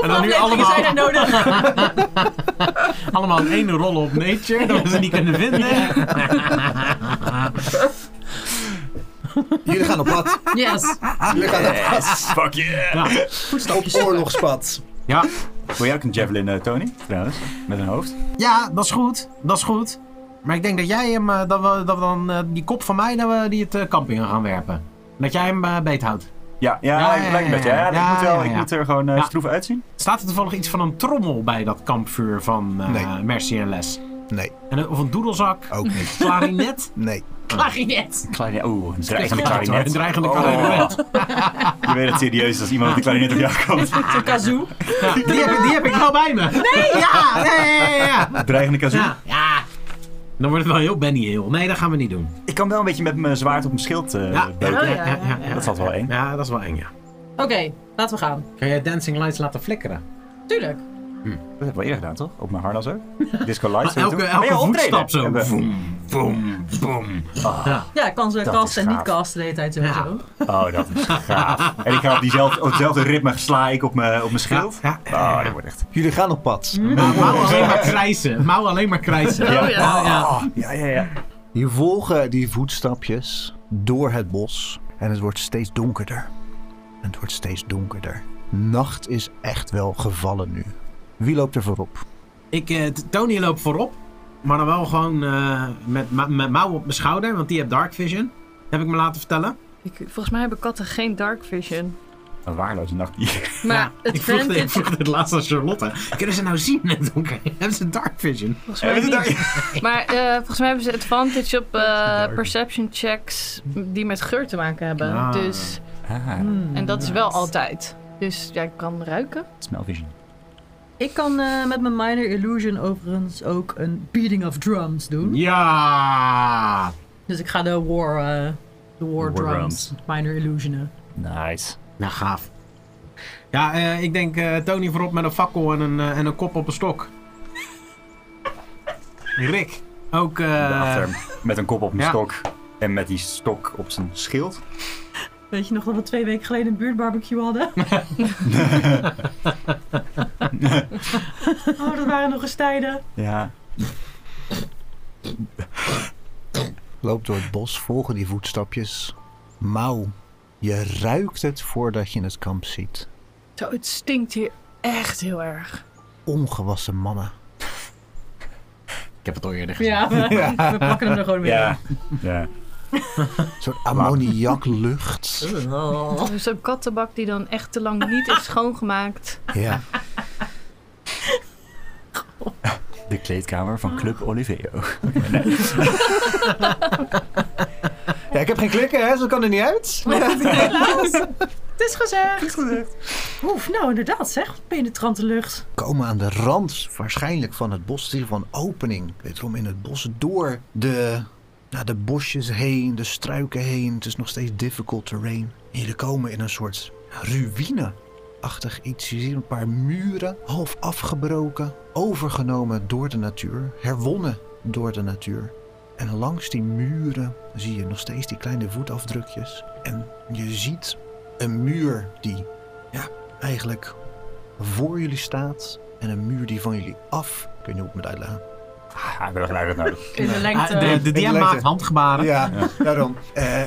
S3: En dan nu
S6: Afleveringen
S3: allemaal,
S6: zijn er nodig.
S3: allemaal een ene rol op Nature, dat we ze niet kunnen vinden.
S5: Jullie gaan op <laughs> pad.
S6: Yes.
S5: Jullie gaan op pad.
S1: Fuck yeah.
S5: Op oorlogspad.
S3: Ja.
S1: Wil jij ook een javelin, eh, Tony? Trouwens. Met een hoofd.
S3: ja, dat is goed. Dat is goed. Maar ik denk dat jij hem, eh, dat we, dat we dan eh, die kop van mij, dat we die het eh, kamp in gaan werpen. Dat jij hem eh, beethoudt.
S1: Ja, ja,
S3: Ja,
S1: lijkt-
S3: ja,
S1: lijkt me
S3: ja,
S1: best. Ja,
S3: ja,
S1: ik,
S3: ja,
S1: moet wel,
S3: ja,
S1: ik
S3: ja.
S1: moet er gewoon eh,
S3: Ja.
S1: stroef uitzien.
S3: Staat er toevallig iets van een trommel bij dat kampvuur van eh
S5: Nee.
S3: Mercy en Les?
S5: Nee,
S3: En, een- of een doedelzak?
S5: ook niet.
S3: <laughs> Klarinet?
S5: Nee.
S6: Klarinet.
S1: Kleine, oeh, een dreigende
S3: Een
S1: klarinet.
S3: dreigende
S1: Oh.
S3: klarinet.
S1: Je weet het serieus als iemand met <laughs> een klarinet op jou komt.
S6: Zo'n kazoo.
S3: Ja, die, heb, ik- die heb ik wel bij me. Nee! Ja, nee, ja, ja, ja.
S1: Dreigende kazoo.
S3: ja. ja. Dan wordt het wel heel Benny heel. Nee, dat gaan we niet doen.
S1: Ik kan wel een beetje met mijn zwaard op mijn schild eh
S3: Ja, ja,
S1: beuken.
S6: Oh,
S3: ja, ja, ja.
S1: Dat is altijd wel eng.
S3: Ja, dat is wel eng, ja.
S6: <laughs> Oké, laten we gaan.
S3: Kan jij Dancing Lights laten flikkeren?
S6: Tuurlijk.
S1: Dat heb ik wel eerder gedaan, toch? Op mijn harnas ook. Disco lights.
S3: Elke,
S1: toen.
S3: elke
S1: Ben je optreden?
S3: voetstap zo.
S1: Hebben we-
S3: Boom, boom, boom.
S6: Ja, ik kan ze
S1: Dat is
S6: casten en niet
S1: gaaf.
S6: casten de hele tijd sowieso.
S3: Ja.
S1: Oh, dat is gaaf. En ik ga op, diezelfde, op hetzelfde ritme sla ik op mijn, op mijn schild.
S3: Ja, ja,
S1: Oh, dat wordt echt...
S5: Jullie gaan op pad.
S3: Mouw alleen maar <laughs> krijsen. Mouw alleen maar krijsen.
S1: Ja.
S6: ja.
S1: Oh, ja, ja, ja.
S5: Je volgen die voetstapjes door het bos. En het wordt steeds donkerder. En het wordt steeds donkerder. Nacht is echt wel gevallen nu. Wie loopt er voorop?
S3: Ik, eh, t- Tony loopt voorop. Maar dan wel gewoon eh, met, ma- met mouw op mijn schouder. Want die heeft dark vision. Heb ik me laten vertellen. <laughs>
S4: Ik, volgens mij hebben katten geen dark vision.
S1: Een waarloze nacht.
S4: Maar
S3: Ja,
S4: het
S3: ik vroeg,
S4: vent
S3: dit, ik
S4: is
S3: vroeg dit laatst aan Charlotte. Kunnen ze nou zien in het donker? <laughs> Hebben ze dark vision?
S4: volgens mij niet. <laughs> Maar eh, volgens mij hebben ze advantage op eh, perception checks die met geur te maken hebben.
S3: Ah.
S4: Dus,
S1: Ah,
S4: en dat is wel altijd. Dus jij kan ruiken.
S1: smell vision.
S6: Ik kan eh, met mijn Minor Illusion overigens ook een Beating of Drums doen.
S3: Ja!
S6: Dus ik ga de War, eh, de
S1: War
S6: war, drums, Minor Illusionen.
S1: Nice.
S3: Nou, gaaf. Ja, eh, ik denk eh, Tony voorop met een fakkel en een, eh, en een kop op een <laughs> stok. Rick, ook... eh,
S1: Daarachter, met een kop op mijn
S3: ja.
S1: stok. En met die stok op zijn schild.
S6: Weet je nog dat we twee weken geleden een buurtbarbecue hadden? oh, dat waren nog eens tijden.
S1: Ja.
S5: Loopt door het bos, volgen die voetstapjes. Mauw, je ruikt het voordat je het kamp ziet.
S4: Zo, het stinkt hier echt heel erg.
S5: Ongewassen mannen.
S3: Ik heb het al eerder gezien.
S6: Ja, we, we pakken hem er gewoon weer
S1: Ja. ja.
S5: Zo'n ammoniaklucht.
S6: in. Oh.
S4: Dus een kattenbak die dan echt te lang niet <laughs> is schoongemaakt.
S5: Ja.
S1: De kleedkamer van Club Oliveo.
S5: ja, ik heb geen klikken, hè? Zo kan er niet uit.
S6: Helaas. Het is gezegd. Oef, nou inderdaad zeg. Penetrante lucht.
S5: komen aan de rand waarschijnlijk van het bos. Het is van opening. Wederom in het bos door de, nou, de bosjes heen, de struiken heen. Het is nog steeds difficult terrain. En jullie komen in een soort ruïne-achtig iets. Je ziet een paar muren, half afgebroken, overgenomen door de natuur, herwonnen door de natuur. En langs die muren zie je nog steeds die kleine voetafdrukjes. En je ziet een muur die ja, eigenlijk voor jullie staat. En een muur die van jullie af. Ik weet niet hoe ik moet uitleggen.
S1: Ah, ik heb wel geluid nodig.
S4: In de
S3: Ah,
S4: lengte.
S3: de, de
S5: Ik
S3: DM
S5: lijkt
S3: maakt
S5: het.
S3: handgebaren.
S5: Ja, daarom. Eh,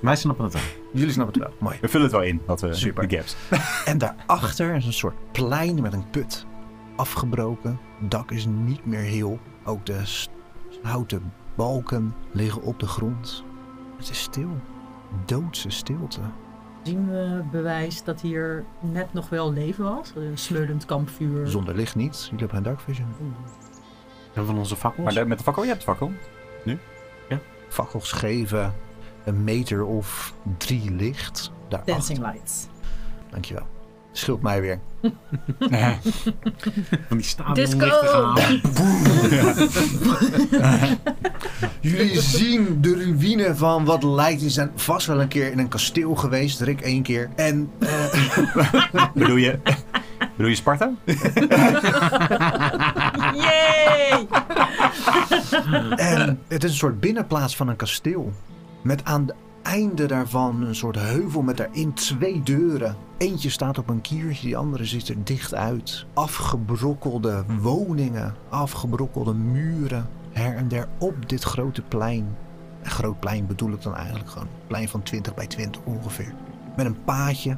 S3: Wij snappen het wel.
S5: jullie snappen het wel. Mooi.
S1: We vullen het wel in, dat we
S5: Super.
S1: de gaps.
S5: En daarachter is een soort plein met een put. Afgebroken. Het dak is niet meer heel. Ook de s- houten balken liggen op de grond. Het is stil. Doodse stilte.
S6: Zien we bewijs dat hier net nog wel leven was? Een smeulend kampvuur.
S5: Zonder licht niets. Jullie hebben geen dark vision.
S3: En van onze fakkels.
S1: Maar de- met de fakkel? Je hebt de fakkel.
S5: Fakkels geven een meter of drie licht. Daarachter.
S6: Dancing lights.
S5: Dankjewel. Schilt mij weer.
S3: Van die
S4: Disco!
S3: stadionlichten gaan.
S5: Jullie zien de ruïne van wat lijkt. Die zijn vast wel een keer in een kasteel geweest. Rick één keer. En eh,
S1: Bedoel je... Bedoel je Sparta?
S6: Yay!
S5: En het is een soort binnenplaats van een kasteel. Met aan het einde daarvan een soort heuvel met daarin twee deuren. Eentje staat op een kiertje, die andere zit er dicht uit. Afgebrokkelde woningen, afgebrokkelde muren. Her en der op dit grote plein. Een groot plein bedoel ik dan eigenlijk gewoon. Een plein van 20 bij 20 ongeveer. Met een paadje,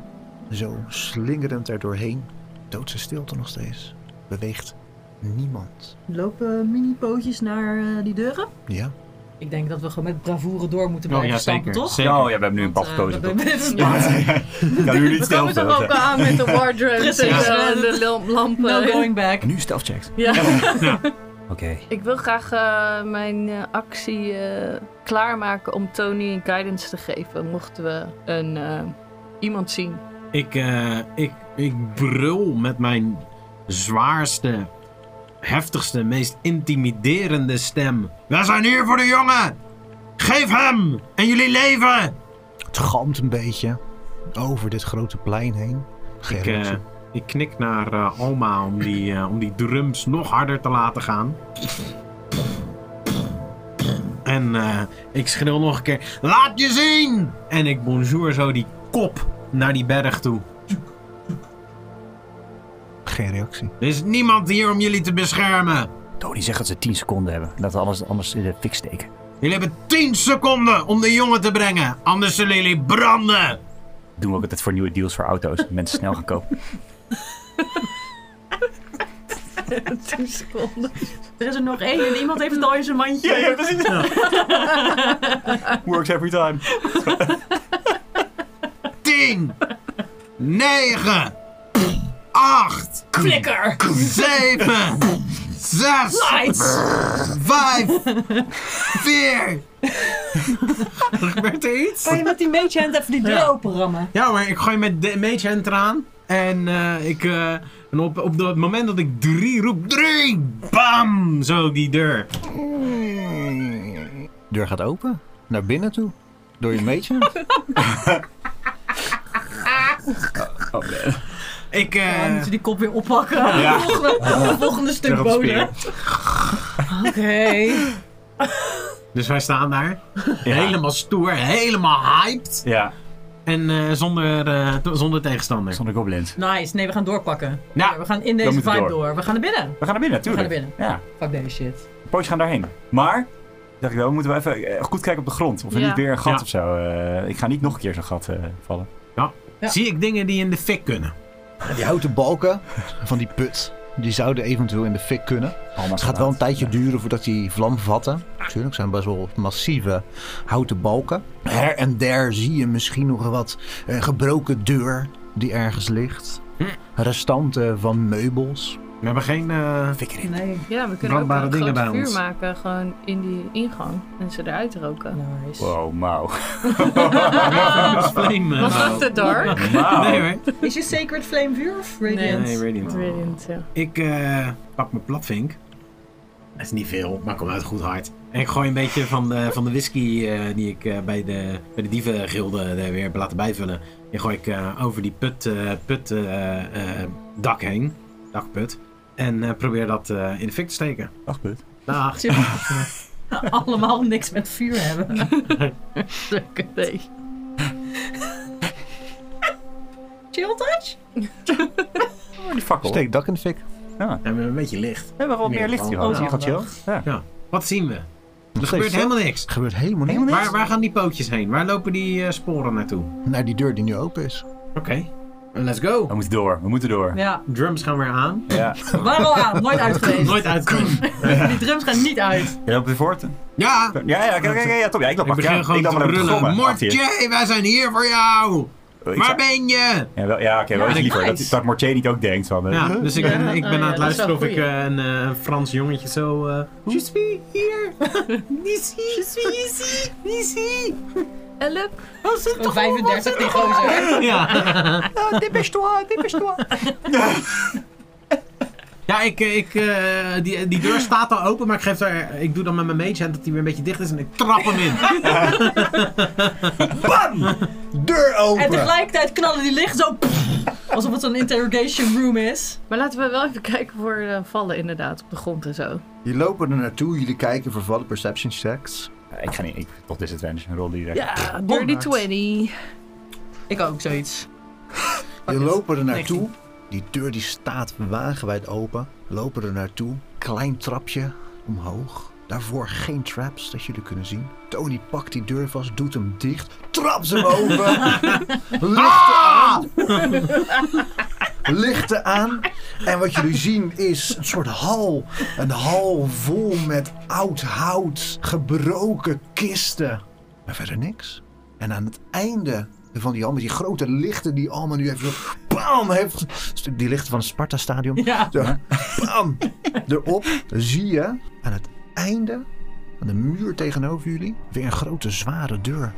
S5: zo slingerend er doorheen. Doodse stilte nog steeds. Beweegt niemand.
S6: <laughs> Lopen mini-pootjes naar eh, die deuren?
S5: Ja?
S6: Ik denk dat we gewoon met bravoure door moeten
S3: Oh
S6: blijven
S3: ja,
S6: stampen,
S3: zeker.
S6: toch?
S3: zeker.
S1: Ja, oh, ja, we hebben nu een pad
S6: Want,
S1: gekozen.
S6: eh, dat
S1: toch?
S6: doen we- dit is <laughs> smart.
S1: Ik kan nu niet
S4: We komen
S1: stil
S4: toch ook aan Ah, met de wardrobes
S6: <laughs>
S4: en
S6: Precies. Nou,
S4: zo en de lam- lampen.
S6: No going back. <laughs>
S1: Nu stealth checks.
S4: Ja.
S1: Oké.
S4: Ik wil graag eh, mijn eh, actie eh, klaarmaken om Tony een guidance te geven. Mochten we een, eh, iemand zien.
S3: Ik, eh, ik, ik brul met mijn zwaarste, heftigste, meest intimiderende stem. Wij zijn hier voor de jongen! Geef hem en jullie leven!
S5: Het galmt een beetje over dit grote plein heen. Geen
S3: Ik, eh,
S5: reactie.
S3: ik knik naar eh, Alma om die, eh, om die drums nog harder te laten gaan. En eh, ik schreeuw nog een keer: Laat je zien! En ik bonjour zo die kop naar die berg toe.
S5: Geen reactie.
S3: Er is niemand hier om jullie te beschermen.
S1: Tony zegt Oh, dat ze 10 seconden hebben. Dat we alles anders in de fik steken.
S3: Jullie hebben 10 seconden om de jongen te brengen, anders zullen jullie branden.
S1: Doen we ook altijd voor nieuwe deals voor auto's. dat Mensen snel gaan kopen.
S4: 10 seconden.
S6: Er is er nog één en iemand heeft het al in zijn mandje.
S1: precies. <laughs> Works every time.
S3: <laughs> 10, 9, 8,
S6: Flikker!
S3: 7, 6,
S6: Lights!
S3: Vijf. Vier. Gebeurt er iets?
S6: Kan je met die mage hand even die deur
S3: Ja.
S6: open rammen?
S3: Ja maar ik gooi met de mage hand eraan. En, eh, ik, eh, en op, op het moment dat ik drie roep, drie, bam, zo die deur.
S5: Deur gaat open. Naar binnen toe. Door je meetje.
S3: <laughs> Ik,
S6: Dan
S3: eh,
S6: moeten we die kop weer oppakken. <laughs> Volgende, volgende stuk
S3: Terug op
S6: bodem.
S3: spieren.
S6: Oké.
S3: dus wij staan <laughs> daar,
S1: Ja.
S3: helemaal stoer, helemaal hyped.
S1: Ja,
S3: En eh, zonder, eh, t- zonder tegenstander.
S1: zonder goblins.
S6: Nice. Nee, we gaan doorpakken.
S3: Ja,
S6: we gaan in deze
S1: moeten
S6: vibe
S1: door.
S6: door. We gaan naar binnen.
S1: We gaan naar binnen,
S6: gaan
S1: natuurlijk.
S6: naar
S1: Ja,
S6: Fuck deze shit.
S1: de pootjes gaan daarheen. Maar, dacht ik wel, moeten we even eh, goed kijken op de grond. Of er
S4: Ja.
S1: niet weer een gat
S3: Ja.
S1: of zo. eh, ik ga niet nog een keer zo'n gat eh, vallen.
S6: Ja.
S3: Zie ik dingen die in de fik kunnen.
S5: Die houten balken van die put. Die zouden eventueel in de fik kunnen.
S7: Oh,
S1: Alma
S5: Het gaat wel een tijdje duren voordat die vlam vatten. Natuurlijk zijn best wel massieve houten balken. Her en der zie je misschien nog wat eh, gebroken deur die ergens ligt.
S3: Hm.
S5: Restanten van meubels.
S3: We hebben geen... eh,
S6: Nee.
S4: Ja, we kunnen
S3: Brandbare
S4: ook een
S3: dingen
S4: groot
S3: bij
S4: vuur
S3: ons.
S4: maken gewoon in die ingang en ze eruit roken.
S6: Nice.
S1: Wow, mauw.
S3: flame, eh,
S4: Was
S3: nou. <laughs>
S4: dat te dark?
S3: Nee
S1: Mauw.
S3: hoor.
S6: <laughs> Is je Sacred Flame vuur of Radiant? <laughs>
S3: Nee, Radiant.
S4: Brilliant, ja.
S3: Ik eh, pak mijn platvink. Dat is niet veel, maar kom uit goed hard. En ik gooi een beetje van de, van de whisky eh, die ik eh, bij, de, bij de dievengilde er weer heb laten bijvullen. Die gooi ik eh, over die put, eh, put eh, eh, dak heen. Dakput. En eh, probeer dat eh, in de fik te steken.
S1: Dag, put.
S3: Dag.
S6: Super. <laughs> allemaal niks met vuur hebben.
S4: Nee.
S6: <laughs> Chill touch?
S7: Oh, die fakkel.
S5: Steek dak in de fik.
S3: We hebben een beetje licht.
S7: We hebben wel meer licht hier.
S3: Oh,
S7: Dat is hier gaat chill. Ja.
S3: Wat zien we? Er gebeurt
S5: steeds zo.
S3: helemaal niks.
S5: Er gebeurt helemaal niks.
S7: Helemaal niks.
S3: Waar, waar gaan die pootjes heen? Waar lopen die eh, sporen naartoe?
S5: Naar die deur die nu open is.
S3: Oké. Let's go.
S7: We moeten door. We moeten door.
S6: Ja,
S3: Drums gaan weer aan.
S7: Ja.
S6: waren al aan. Nooit uit geweest.
S3: Nooit uitkomen.
S6: Die drums gaan niet uit.
S7: Je loopt weer voort.
S3: ja!
S7: <laughs> Ja, ja, kijk, kijk, ja, top. Ja, ik loop
S3: Ik
S7: achter.
S3: begin
S7: Ja,
S3: gewoon
S7: ik loop
S3: te
S7: maar even
S3: brullen.
S7: gommen. Achter
S3: Mortier, wij zijn hier voor jou!
S7: je. Ik
S3: Waar
S7: zou-
S3: ben je?
S7: Ja, wel- ja oké, wel iets
S3: ik-
S7: liever. Dat,
S6: nice.
S7: dat Mortier niet ook denkt van... eh,
S3: Ja, dus ik ben, ik
S4: Oh,
S3: ben
S4: ja,
S3: aan
S4: dat
S3: het
S4: is
S3: luisteren of
S4: wel
S3: ik
S4: goeie.
S3: eh, een, eh, een Frans jongetje zo... eh je suis hier! Ici! Je suis ici! Ici!
S4: Help.
S6: Gewoon 35 die gozer.
S3: <laughs> Ja,
S7: Oh, dépêche-toi, dépêche-toi.
S3: ja ik, eh, ik, eh, die, die deur staat al open, maar ik, geef daar, ik doe dan met mijn mage hand dat die weer een beetje dicht is en ik trap hem
S4: <laughs>
S3: in.
S8: Deur
S6: En
S8: open!
S6: tegelijkertijd knallen die licht zo... Alsof het zo'n interrogation room is.
S4: Maar laten we wel even kijken voor eh, vallen inderdaad op de grond en zo.
S5: Jullie lopen er naartoe, jullie kijken voor vallen perception checks.
S7: Ik ga niet. Ik, tot disadvantage. Een rol die direct.
S4: Ja, dirty 20.
S6: Ik ook zoiets.
S5: Je lopen er naartoe. Die deur die staat wagenwijd open. Lopen er naartoe. Klein trapje omhoog. Daarvoor geen traps dat jullie kunnen zien. Tony pakt die deur vast, doet hem dicht. Trapt ze hem open. Lichten aan. Lichten aan. En wat jullie zien is een soort hal. Een hal vol met oud hout. Gebroken kisten. Maar verder niks. En aan het einde van die hal, met die grote lichten die Alma nu even zo, bam, heeft, die lichten van het Sparta Stadion,
S6: Ja.
S5: zo, bam, erop, zie je aan het einde, aan de muur tegenover jullie, weer een grote zware deur.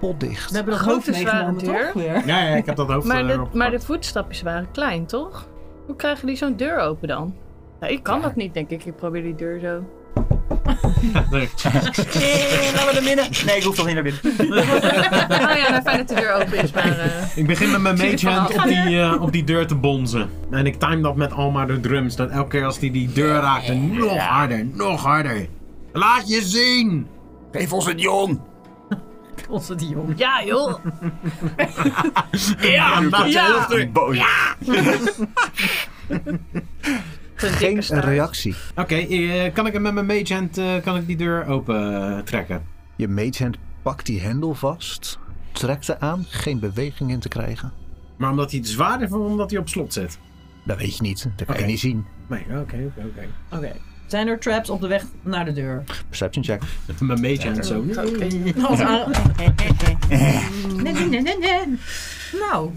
S5: Potdicht.
S6: We hebben dat
S4: Grote
S6: hoofd meegenomen,
S4: zware deur.
S6: toch? Weer.
S3: Ja, ja, ik heb dat hoofd
S4: Maar
S3: eh,
S4: de,
S3: erop
S4: maar de
S3: gepakt.
S4: voetstapjes waren klein, toch? Hoe krijgen die zo'n deur open dan? Nou, ik kan dat niet, denk ik. Ik probeer die deur zo.
S7: Nee, laat me naar binnen. Nee, ik hoef toch niet naar binnen.
S4: <laughs> Oh ja, nou, fijn dat de deur open is, maar... eh,
S3: Ik begin met mijn
S4: Zie je
S3: mage hand op
S4: vanaf?
S3: die, eh, op die deur te bonzen. En ik time dat met Alma de drums. Dat elke keer als die die deur raakte, nog harder, nog harder. Laat je zien!
S7: Geef ons een jong.
S6: Onze die jongen.
S4: ja, joh.
S3: Ja, laat je
S4: Ja.
S3: lucht in.
S7: Boos.
S4: Zo'n dikke
S5: Geen
S4: staart.
S5: reactie.
S3: Oké, eh, kan ik hem met mijn mage hand eh, kan ik die deur open eh, trekken?
S5: Je magehand pakt die hendel vast, trekt er aan, geen beweging in te krijgen.
S3: Maar omdat hij het zwaarder is, of omdat hij op slot zit?
S5: Dat weet je niet, dat kan
S3: Oké.
S5: je niet zien.
S3: Nee, oké, oké, oké.
S6: Oké. Zijn er traps op de weg naar de deur?
S5: <laughs>
S6: Nou,
S5: Perception check.
S3: Mijn mage hand zo.
S6: eh, Nee, nee, nee, nee, nee. Nou,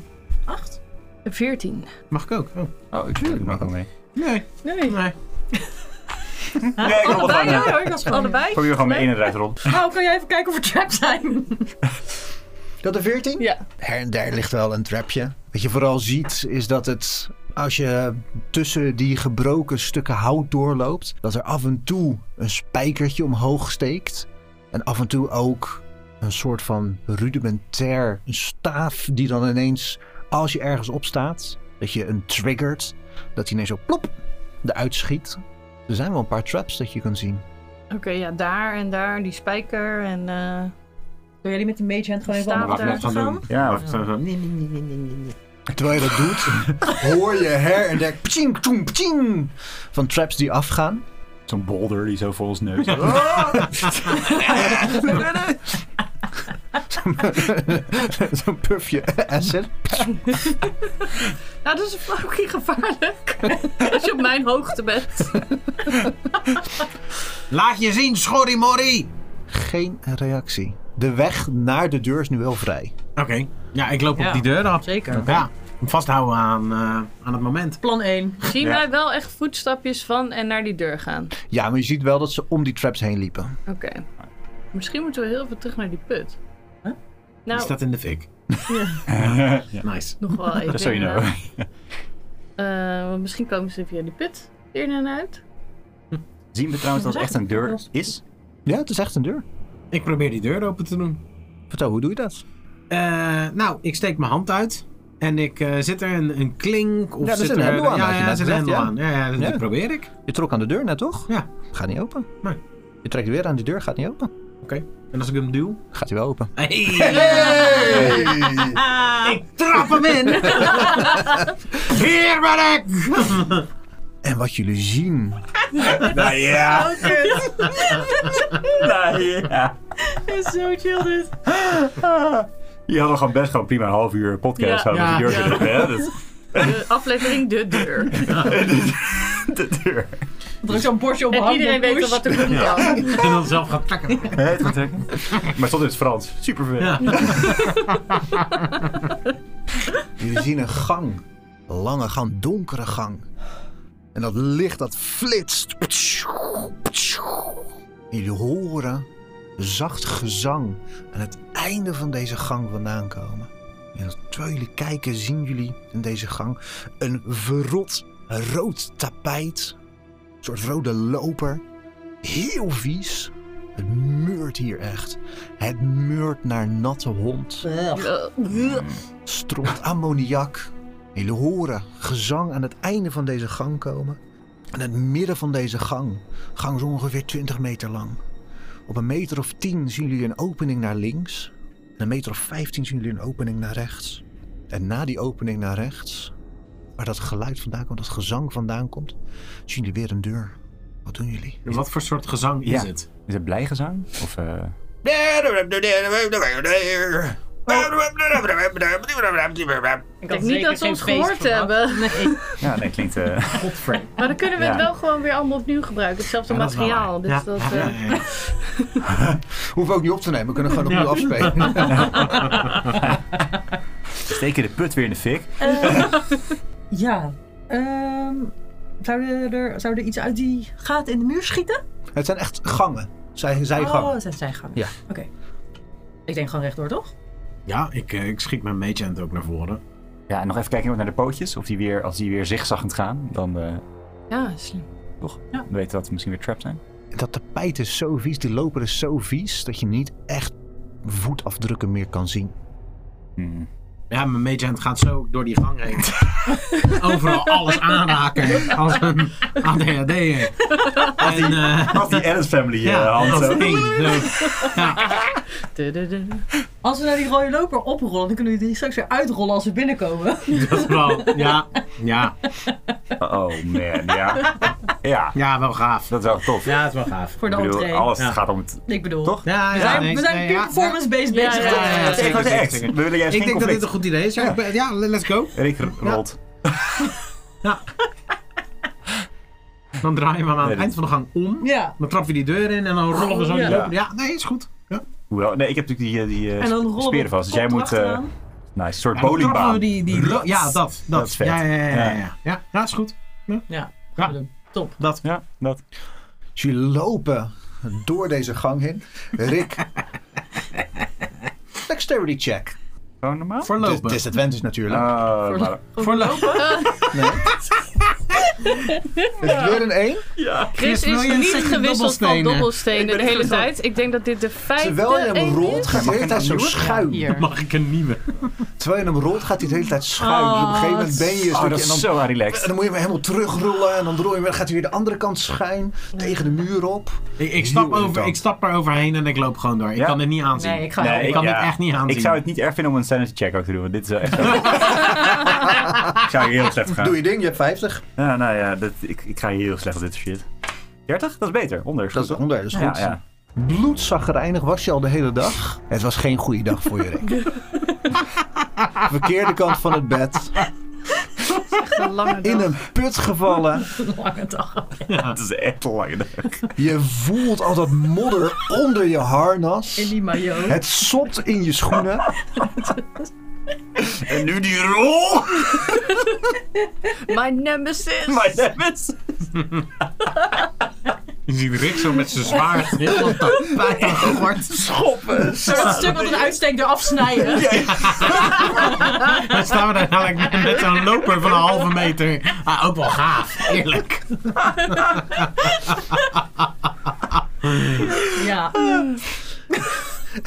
S6: acht.
S4: 14.
S3: Mag ik ook? Oh.
S7: Oh, ik doe het ook mee.
S3: Nee,
S4: Nee.
S3: nee.
S7: Nee, ik wil
S4: Allebei,
S7: gewoon... eh,
S4: ja, hoor. Ik was allebei.
S7: Probeer gewoon de ene eruit rond.
S6: Nou, kan jij even kijken of er traps zijn?
S5: Dat de 14?
S4: Ja.
S5: Her en daar ligt wel een trapje. Wat je vooral ziet is dat het, als je tussen die gebroken stukken hout doorloopt, dat er af en toe een spijkertje omhoog steekt. En af en toe ook een soort van rudimentair een staaf die dan ineens, als je ergens op staat, dat je een triggert, dat die ineens zo plop eruit schiet. Er zijn wel een paar traps dat je kunt zien.
S4: Oké, ja, daar en daar. Die spijker en... eh,
S6: Wil jullie met die mage hand gewoon even
S4: Staaf
S6: allemaal
S4: daar.
S6: naar voren gaan?
S7: Ja,
S6: Nee, nee, nee, nee, nee, nee.
S5: Terwijl je dat doet, hoor je her en der pching, tjoeng, pching, van traps die afgaan.
S7: zo'n boulder die zo voor ons neus.
S5: <laughs> Zo'n pufje acid.
S4: Nou, dat is fucking gevaarlijk. Als je op mijn hoogte bent.
S3: Laat je zien, schorrimorrie!
S5: Geen reactie. De weg naar de deur is nu wel vrij.
S3: Oké. Ja, ik loop
S6: Ja.
S3: op die deur af.
S6: Zeker.
S3: Ja, vasthouden aan, eh, aan het moment.
S6: Plan
S4: <laughs>
S6: 1.
S4: Zien wij wel echt voetstapjes van en naar die deur gaan?
S5: Ja, maar je ziet wel dat ze om die traps heen liepen.
S4: Oké. Misschien moeten we heel even terug naar die put.
S6: Huh?
S4: Nou,
S3: Die staat in de fik. <laughs>
S7: Ja.
S3: Nice.
S4: nog wel even.
S7: Just so you know.
S4: inderdaad.
S3: nou. <laughs>
S4: Eh, want misschien komen ze via die put in en uit.
S7: Zien we trouwens dat het echt een deur is?
S5: Ja, het is echt een deur.
S3: Ik probeer die deur open te doen.
S5: Vertel, hoe doe je dat?
S3: Eh, nou, ik steek mijn hand uit. En ik eh, zit er een, een klink of
S5: Ja, er
S3: zit
S5: zit een hendel aan,
S3: ja,
S5: had je
S3: ja,
S5: net
S3: er zit een
S5: gezegd,
S3: hendel
S5: ja.
S3: aan. Ja, ja, dat
S5: Ja.
S3: die probeer ik.
S5: Je trok aan de deur net, toch?
S3: Ja.
S5: Gaat niet open.
S3: Nee.
S5: Je trekt weer aan die deur, gaat niet open.
S3: En als ik hem duw.
S5: Gaat hij wel open.
S3: Ik trap hem in! Hier ben ik!
S5: En wat jullie zien
S7: Nou
S6: Oh,
S7: ja.
S6: kut.
S7: Nou ja.
S6: Is zo chill dit.
S7: Je hadden gewoon best gewoon prima een half uur podcast
S4: Ja.
S7: houden. met
S3: Ja.
S7: Die
S4: Ja.
S7: deur zitten, hè? Dat-
S4: De aflevering De
S3: <laughs>
S4: Deur.
S7: De deur.
S6: Druk zo'n borstje op mijn
S4: En
S6: hand.
S4: iedereen weet al wat er komt dan.
S3: En dan zelf gaan trekken.
S7: Het gaat trekken. <laughs> Maar tot in het Frans. Super vet.
S3: Ja.
S5: Jullie zien een gang. Een lange gang, donkere gang. En dat licht dat flitst. Jullie horen zacht gezang aan het einde van deze gang vandaan komen. En terwijl jullie kijken, zien jullie in deze gang een verrot rood tapijt. Een soort rode loper. Heel vies. Het meurt hier echt. Het meurt naar natte hond stront ammoniak. Jullie horen gezang aan het einde van deze gang komen. En het midden van deze gang, gang zo ongeveer 20 meter lang. Op een meter of 10 zien jullie een opening naar links. En een meter of 15 zien jullie een opening naar rechts. En na die opening naar rechts, waar dat geluid vandaan komt, dat gezang vandaan komt, zien jullie weer een deur. Wat doen jullie?
S3: Wat voor soort gezang is
S7: Ja.
S3: het?
S7: Is het blij gezang? Of, eh,
S4: Ik denk niet dat ze ons gehoord hebben.
S7: Ja, nee, klinkt... eh, <laughs>
S3: Godver.
S4: <laughs> Maar dan kunnen we het
S7: Ja.
S4: wel gewoon weer allemaal opnieuw gebruiken. Hetzelfde
S3: Ja, dat is wel
S4: materiaal. Dus
S3: waar. Ja.
S4: dat, eh,
S3: Ja, ja, ja.
S5: <laughs> Hoef ook niet op te nemen, we kunnen gewoon opnieuw afspelen.
S7: steken de put weer in de fik.
S6: Ja. Ehm zouden, er, zouden er iets uit die gaten in de muur schieten?
S5: <laughs> Het zijn echt gangen. Zij, zij
S6: oh,
S5: gangen.
S6: dat zijn zijgangen.
S5: Ja.
S6: Oké. Ik denk gewoon rechtdoor, toch?
S3: Ja, ik, eh, ik schiet mijn mage hand ook naar voren.
S7: Ja, en nog even kijken naar de pootjes. Of die weer, als die weer zigzaggend gaan, dan eh
S4: ja, slim.
S7: weten we dat we misschien weer trapped zijn.
S5: Dat tapijt is zo vies, die loper is zo vies, dat je niet echt voetafdrukken meer kan zien.
S7: Hmm.
S3: Ja, mijn mage hand gaat zo door die gang heen. <laughs> Overal alles <laughs> aanraken. Als een ADHD'er. En eh
S7: Als die Adams Family eh,
S3: ja,
S7: hand
S3: als
S7: zo.
S3: één. Zo.
S4: Du-du-du.
S6: Als we naar die rode loper oprollen, dan kunnen we die straks weer uitrollen als we binnenkomen. <laughs>
S3: <laughs> Dat is wel, ja, ja,
S7: Oh man,
S3: <laughs>
S7: ja. Ja,
S3: ja, wel gaaf.
S7: dat is wel tof.
S3: Ja, dat is wel gaaf.
S6: Voor de
S7: Ik bedoel,
S6: entree.
S7: alles
S3: Ja.
S7: gaat om het...
S6: Ik bedoel.
S7: Toch?
S3: Ja,
S6: We
S3: ja,
S6: zijn,
S3: nee,
S6: we zijn
S3: nee,
S6: puur
S3: ja,
S6: performance-based
S4: Ja,
S6: bezig.
S4: ja, ja, ja,
S6: toch?
S3: zeker,
S7: Gewoon de
S3: zeker,
S7: act.
S3: zeker.
S7: dus We willen
S3: ja.
S7: juist
S3: Ik
S7: geen
S3: denk dat dit een goed
S7: conflict.
S3: idee is. Ja, ik ben- ja let's go.
S7: Rick rolt.
S3: Dan draaien we hem aan
S7: Nee,
S3: het eind van de gang om.
S6: Ja.
S3: Dan trappen we die deur in en dan rollen
S4: Oh,
S3: we zo die
S6: Ja.
S3: loop. Ja, nee, is goed. Ja.
S7: Hoewel, nee, ik heb natuurlijk die, eh, die eh,
S6: En dan rollen we
S7: speren vast. Dus jij
S6: kop
S7: moet... eh
S6: erachteraan.
S7: nice, een soort
S3: Ja, dan trappen we
S7: bowlingbaan.
S3: die, die lo- ja, dat. Dat,
S7: Dat is vet.
S3: Ja, ja, ja, ja,
S7: Ja.
S3: ja. ja. ja is goed.
S6: Ja.
S3: Ja.
S6: goed. Top.
S3: Dat.
S7: Ja, dat.
S5: Dus jullie lopen door deze gang heen. Rick.
S7: <laughs>
S5: Dexterity check.
S7: Gewoon normaal?
S3: Voor
S5: Dus
S3: lopen.
S5: disadvantage natuurlijk.
S7: Ah, maar-
S3: Voor lopen.
S5: Het is weer een 1.
S4: Chris
S3: wil
S4: is
S3: je een
S4: niet
S3: setje
S4: gewisseld van
S3: dobbelstenen?
S4: dobbelstenen de hele tijd. Ik denk dat dit de vijfde
S5: Terwijl je
S4: een
S5: hem rolt, gaat hij de hele tijd zo schuin.
S4: Hier.
S3: Mag ik een nieuwe?
S5: Terwijl je hem rolt, gaat hij de hele tijd schuin. dus op een gegeven moment ben je een
S7: Oh,
S5: stukje.
S7: dat is
S5: En dan,
S7: zo
S5: en
S7: relaxed.
S5: dan moet je hem helemaal terugrollen. En dan rol je hem, dan gaat hij weer de andere kant schuin. Tegen de muur op.
S3: Ik, ik, stap
S5: Heel
S3: over,
S5: irritant.
S3: ik stap er overheen en ik loop gewoon door. Ik
S7: Ja?
S3: kan dit niet aanzien.
S6: Nee, ik ga
S7: Nee,
S3: ik kan dit echt niet aanzien.
S7: Ik zou het niet erg vinden om een sanity check ook te doen, want dit is wel echt...
S3: <laughs>
S7: ik zou hier heel slecht gaan.
S5: Doe je ding, je hebt 50.
S7: Ja, nou ja, dat, ik, ik ga hier heel slecht op dit soort shit. 30? Dat is beter. Onder.
S5: Dat is
S7: goed.
S5: onder, dat is goed.
S7: Ja, ja.
S5: Bloedzaggerijnig was je al de hele dag. Het was geen goede dag voor je, <laughs> Rick. Verkeerde kant van het bed.
S4: Een lange
S5: In
S4: dag.
S5: een put gevallen.
S6: Lange dag.
S7: Dat is echt een lange dag.
S5: Je voelt al dat modder onder je
S6: In
S5: harnas.
S6: die maillot.
S5: Het sopt in je schoenen.
S7: En nu die rol!
S4: My
S3: <laughs>
S4: nemesis.
S7: My nemesis!
S3: Je ziet Rick zo met zijn zwaard <laughs> heel op de pijt aan gegord.
S7: Schoppen!
S6: Zo dat stuk wat een uitsteekt eraf snijden.
S3: Dan staan we daar eigenlijk met- met zo'n loper van een halve meter. Ah, ook wel gaaf, eerlijk.
S6: Ja.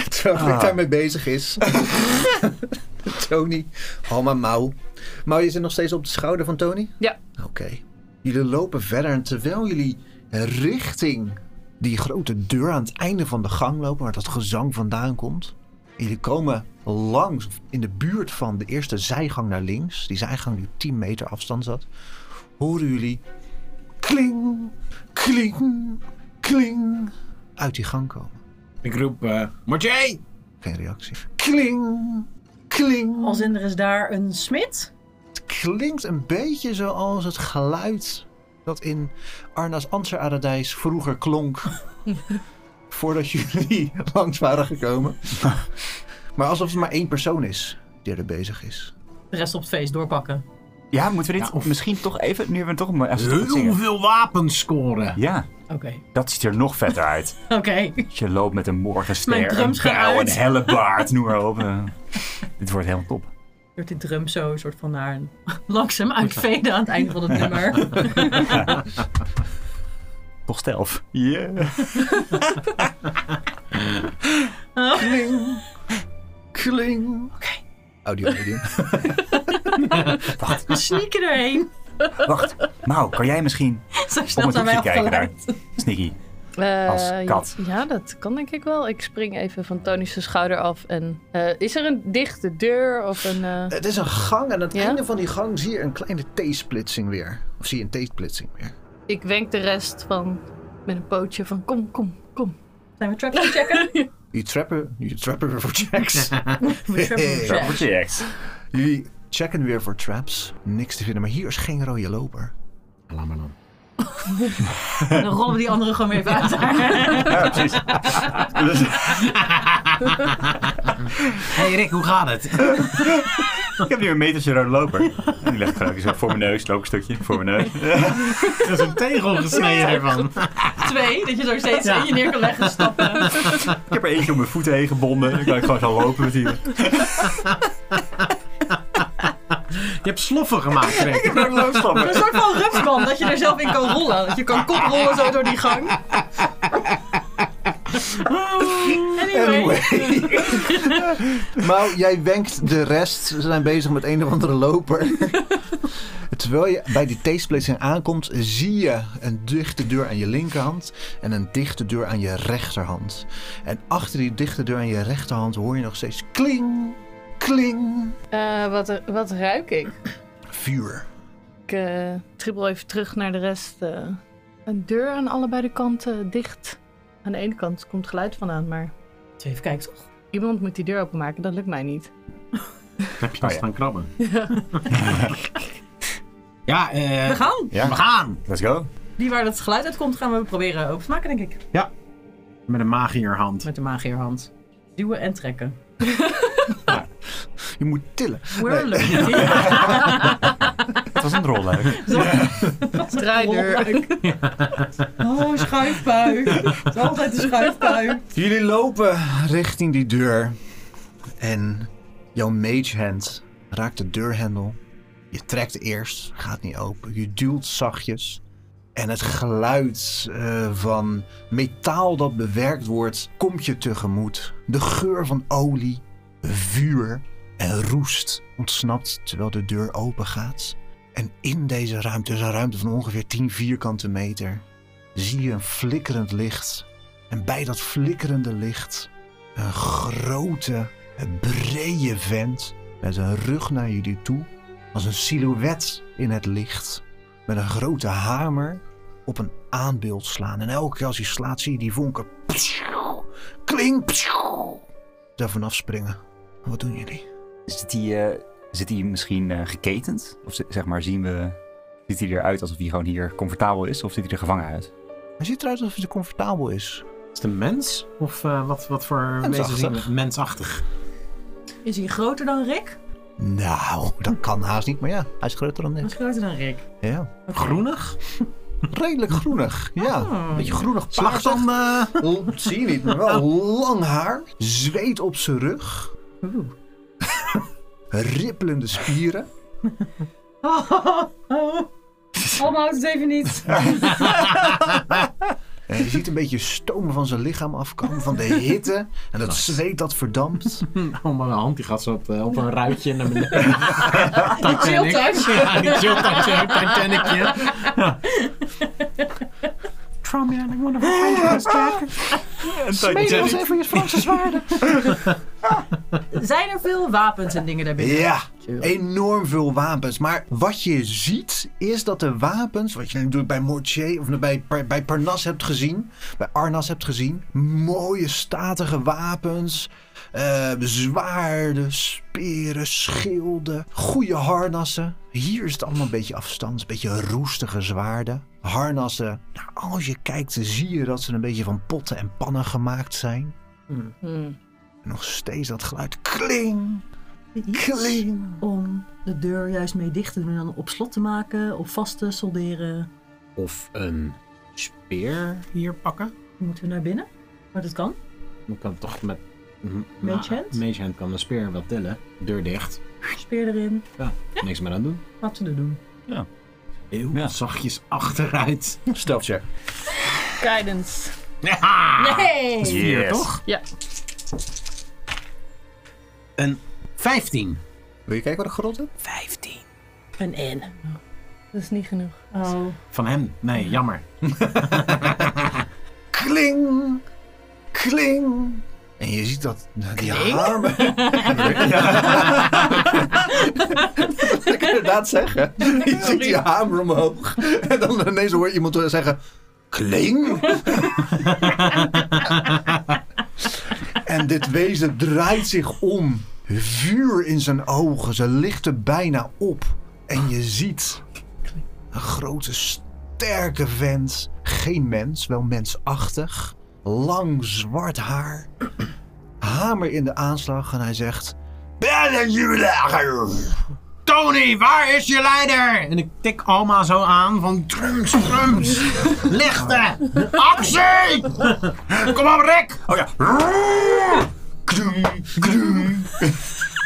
S5: Terwijl Rick daarmee bezig is. <laughs> Tony, hou maar mouw. Mouw, je zit nog steeds op de schouder van Tony?
S4: Ja.
S5: Oké. Jullie lopen verder en terwijl jullie richting die grote deur aan het einde van de gang lopen, waar dat gezang vandaan komt. En jullie komen langs, of in de buurt van de eerste zijgang naar links, die zijgang die op 10 meter afstand zat, horen jullie kling, kling, kling uit die gang komen.
S8: Ik roep, eh Marjay!
S5: Geen reactie. Kling, kling.
S6: Als in er is daar een smid.
S5: Het klinkt een beetje zoals het geluid dat in Arna's Antser-Aradijs vroeger klonk. voordat jullie <laughs> langs waren gekomen. maar alsof het maar één persoon is die er bezig is.
S6: De rest op het feest doorpakken.
S1: Ja, moeten we dit
S8: Ja, of-
S1: misschien toch even... Nu hebben we toch... Als we het
S8: Heel
S1: zingen.
S8: veel wapens scoren.
S1: Ja,
S6: Oké.
S1: dat ziet er nog vetter uit.
S6: Oké.
S1: Je loopt met een
S6: Mijn
S1: morgenster, een
S6: drums gaan
S1: bouw, een
S6: uit.
S1: hellebaard, noem maar op. eh. dit wordt helemaal top.
S6: Wordt die drum zo een soort van naar een <laughs> langzaam uitveden aan het einde van het
S8: <laughs>
S6: nummer.
S1: Toch stelf. Yeah.
S5: Kling, kling. Oké. Audio medium.
S6: We sneaken erheen.
S1: Wacht. Nou, kan jij misschien
S6: Zo
S1: op
S6: snel
S1: mijn
S6: zijn wij
S1: doekje kijken daar?
S6: afgeleid.
S1: Sneaky.
S4: Eh,
S1: Als kat.
S4: Ja, ja, dat kan denk ik wel. Ik spring even van Tony's schouder af. En, eh, is er een dichte deur of een... eh,
S5: Het is een gang en aan het
S4: Ja?
S5: einde van die gang zie je een kleine T-splitsing weer. Of zie je een T-splitsing weer.
S4: Ik wenk de rest van... Met een pootje van kom, kom, kom.
S6: Zijn we trappen checken?
S5: Je trappen, je trappen weer voor
S6: We
S5: checks.
S6: trappen
S1: Daar
S6: checken.
S1: word je echt.
S5: Jullie checken weer voor traps. Niks te vinden, maar hier is geen rode loper.
S8: Laat maar dan.
S6: En dan rollen we die andere gewoon weer even uit.
S1: Ja, precies. Dus-
S8: hey Rick, hoe gaat het?
S1: ik heb nu een metertje rode loper. En die leg ik gewoon zo voor mijn neus, loop een stukje, voor mijn neus.
S8: Er is een tegel gesneden ervan.
S6: Twee, dat je zo steeds in je neer kan leggen
S8: <laughs>
S6: stappen.
S1: Ik heb er eentje om mijn voeten heen gebonden. Dan kan ik gewoon zo lopen met die.
S8: Je hebt sloffen
S3: Ah,
S4: <laughs>
S8: gemaakt, Rick.
S1: Een
S6: Een soort van rupsband, dat je er zelf in kan rollen. Dat je kan koprollen zo door die
S8: <laughs>
S6: gang. Anyway.
S5: Maar jij wenkt de rest. Ze zijn bezig met een of andere loper. Terwijl je bij die T-splitsing aankomt, zie je een dichte deur aan je linkerhand en een dichte deur aan je rechterhand. En achter die dichte deur aan je rechterhand hoor je nog steeds kling, kling,
S4: Eh, wat, wat ruik ik?
S5: vuur.
S4: Ik eh, trippel even terug naar de rest. eh. een deur aan allebei de kanten dicht. Aan de ene kant komt geluid vandaan, maar
S6: Even kijken toch?
S4: iemand moet die deur openmaken. Dat lukt mij <laughs> niet.
S8: heb je vast aan krabben. Ja, eh,
S6: We gaan.
S8: we gaan.
S1: Let's go.
S6: Die waar dat geluid uitkomt, gaan we proberen open te maken, denk ik.
S8: Met een magierhand.
S6: Met de magierhand. Duwen en trekken.
S5: Je moet tillen.
S6: Whirlen. <laughs>
S1: Het was een rolluik.
S6: <laughs>
S4: Draaideur.
S6: Oh, schuifpui. Het is altijd een schuifpui.
S5: Jullie lopen richting die deur. En jouw mage hand raakt de deurhendel. Je trekt eerst, gaat niet open. Je duwt zachtjes. En het geluid eh, van metaal dat bewerkt wordt, komt je tegemoet. De geur van olie, vuur en roest ontsnapt terwijl de deur open gaat. En in deze ruimte, dus een ruimte van ongeveer 10 vierkante meter, zie je een flikkerend licht en bij dat flikkerende licht een grote, brede vent met een rug naar jullie toe. Als een silhouet in het licht. Met een grote hamer op een aanbeeld slaan. En elke keer als hij slaat zie je die vonken. Psjoe, kling. psjoe, Daar vanaf springen. Wat doen jullie?
S1: Zit hij eh, zit die misschien eh, geketend? Of z- zeg maar, zien we... Ziet hij eruit alsof hij gewoon hier comfortabel is? Of ziet hij er gevangen uit?
S5: Hij ziet eruit alsof hij comfortabel is.
S8: Is het een mens? Of eh, wat, wat voor
S5: Mensachtig.
S8: mensen zien we? Mensachtig.
S6: Is hij groter dan Rick?
S5: Nou, dat kan haast niet. Maar ja, hij is groter dan
S6: Hij
S5: dit.
S6: is groter dan Rick.
S5: Ja.
S8: Groenig?
S5: Redelijk groenig. Ja, een beetje groenig paars.
S8: Slachtoffer?
S5: L- Zie je niet, maar wel lang haar. Zweet op zijn rug. <laughs> Rippelende spieren.
S6: Oh, houdt het even niet.
S5: En Eh, je ziet een beetje stoom van zijn lichaam afkomen. Van de hitte. En dat zweet dat verdampt.
S8: Oh, maar mijn hand die gaat zo op, eh, op een ruitje
S3: <laughs>
S8: naar beneden. Titanic.
S6: chilltouch.
S8: Ja, die chilltouch, eh, Titanicje.
S3: from here and I wonder what kind of
S5: <laughs>
S3: tracker.
S9: Smeden was even je Franse zwaarden.
S6: Zijn er veel wapens en dingen daarbinnen?
S5: Ja, enorm veel wapens. Maar wat je ziet is dat de wapens, wat je natuurlijk bij Mortier of bij, bij Parnas hebt gezien, bij Arnas hebt gezien, mooie statige wapens, eh, zwaarden, speren, schilden, goede harnassen. Hier is het allemaal een beetje afstand, een beetje roestige zwaarden. Harnassen, nou, als je kijkt zie je dat ze een beetje van potten en pannen gemaakt zijn.
S4: Hmm.
S5: Nog steeds dat geluid kling, kling.
S6: Om de deur juist mee dicht te doen en dan op slot te maken, op vast te solderen.
S10: Of een speer.
S3: Hier pakken.
S6: Moeten we naar binnen? Maar dat kan.
S10: Dan kan toch met... m-
S6: Mage
S10: ma-
S6: hand?
S10: Mage hand kan een speer wel tillen. Deur dicht.
S6: Speer erin.
S10: Ja, niks meer aan doen.
S6: Laten we dat doen.
S3: Heel
S7: Ja.
S3: zachtjes achteruit. <laughs>
S9: Stealth check.
S4: Guidance.
S3: Ja,
S4: Nee!
S3: vier,
S7: Yes.
S3: toch?
S4: Ja.
S3: Een 15.
S9: Wil je kijken wat ik gerot heb?
S4: Een in. Dat is niet genoeg. Oh.
S3: Van hem? Nee, jammer.
S5: Kling! Kling! En je ziet dat die armen. dat kan ik inderdaad zeggen. Je ziet die hamer omhoog. En dan ineens hoor je iemand zeggen. Kling! en dit wezen draait zich om. Vuur in zijn ogen. Ze lichten bijna op. En je ziet een grote sterke vent. Geen mens, wel mensachtig. Lang zwart haar. Hamer in de aanslag en hij zegt... Ben jullie lager?
S3: Tony, waar is je leider? En ik tik Alma zo aan van Trums, Trums, lichten, actie! Kom op Rick!
S9: Oh ja. Kling, kling.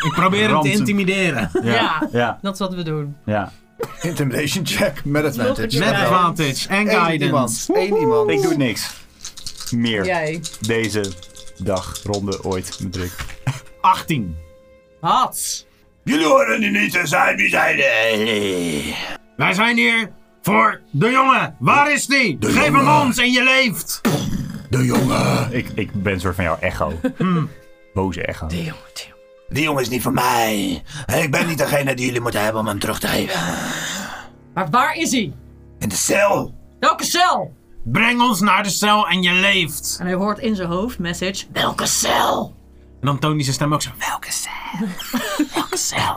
S3: Ik probeer hem te
S7: Rampen.
S3: intimideren.
S7: Ja.
S6: Ja.
S7: Ja,
S6: Dat is wat we doen.
S7: ja.
S5: Intimidation check met advantage.
S3: Met advantage en
S5: Eén
S3: guidance.
S5: iemand. Eén iemand.
S7: Ik doe niks. Meer
S6: Jij.
S7: deze dag, ronde, ooit met Rick.
S3: 18.
S6: Hats.
S9: Jullie horen nu niet te
S5: dus
S9: zijn wie zijn.
S3: Wij zijn hier voor de jongen. Waar is die? Geef hem ons en je leeft.
S9: De jongen.
S7: Ik, ik ben een soort van jouw echo.
S8: Hmm.
S7: Boze echo.
S9: Die jongen is niet van mij. En ik ben niet degene die jullie moeten hebben om hem terug te geven.
S6: Maar waar is hij?
S9: In de cel.
S6: Welke cel?
S3: Breng ons naar de cel en je leeft.
S6: En hij hoort in zijn hoofd message. Welke cel?
S3: En dan toont hij zijn stem ook zo.
S6: Welke cel? Welke cel?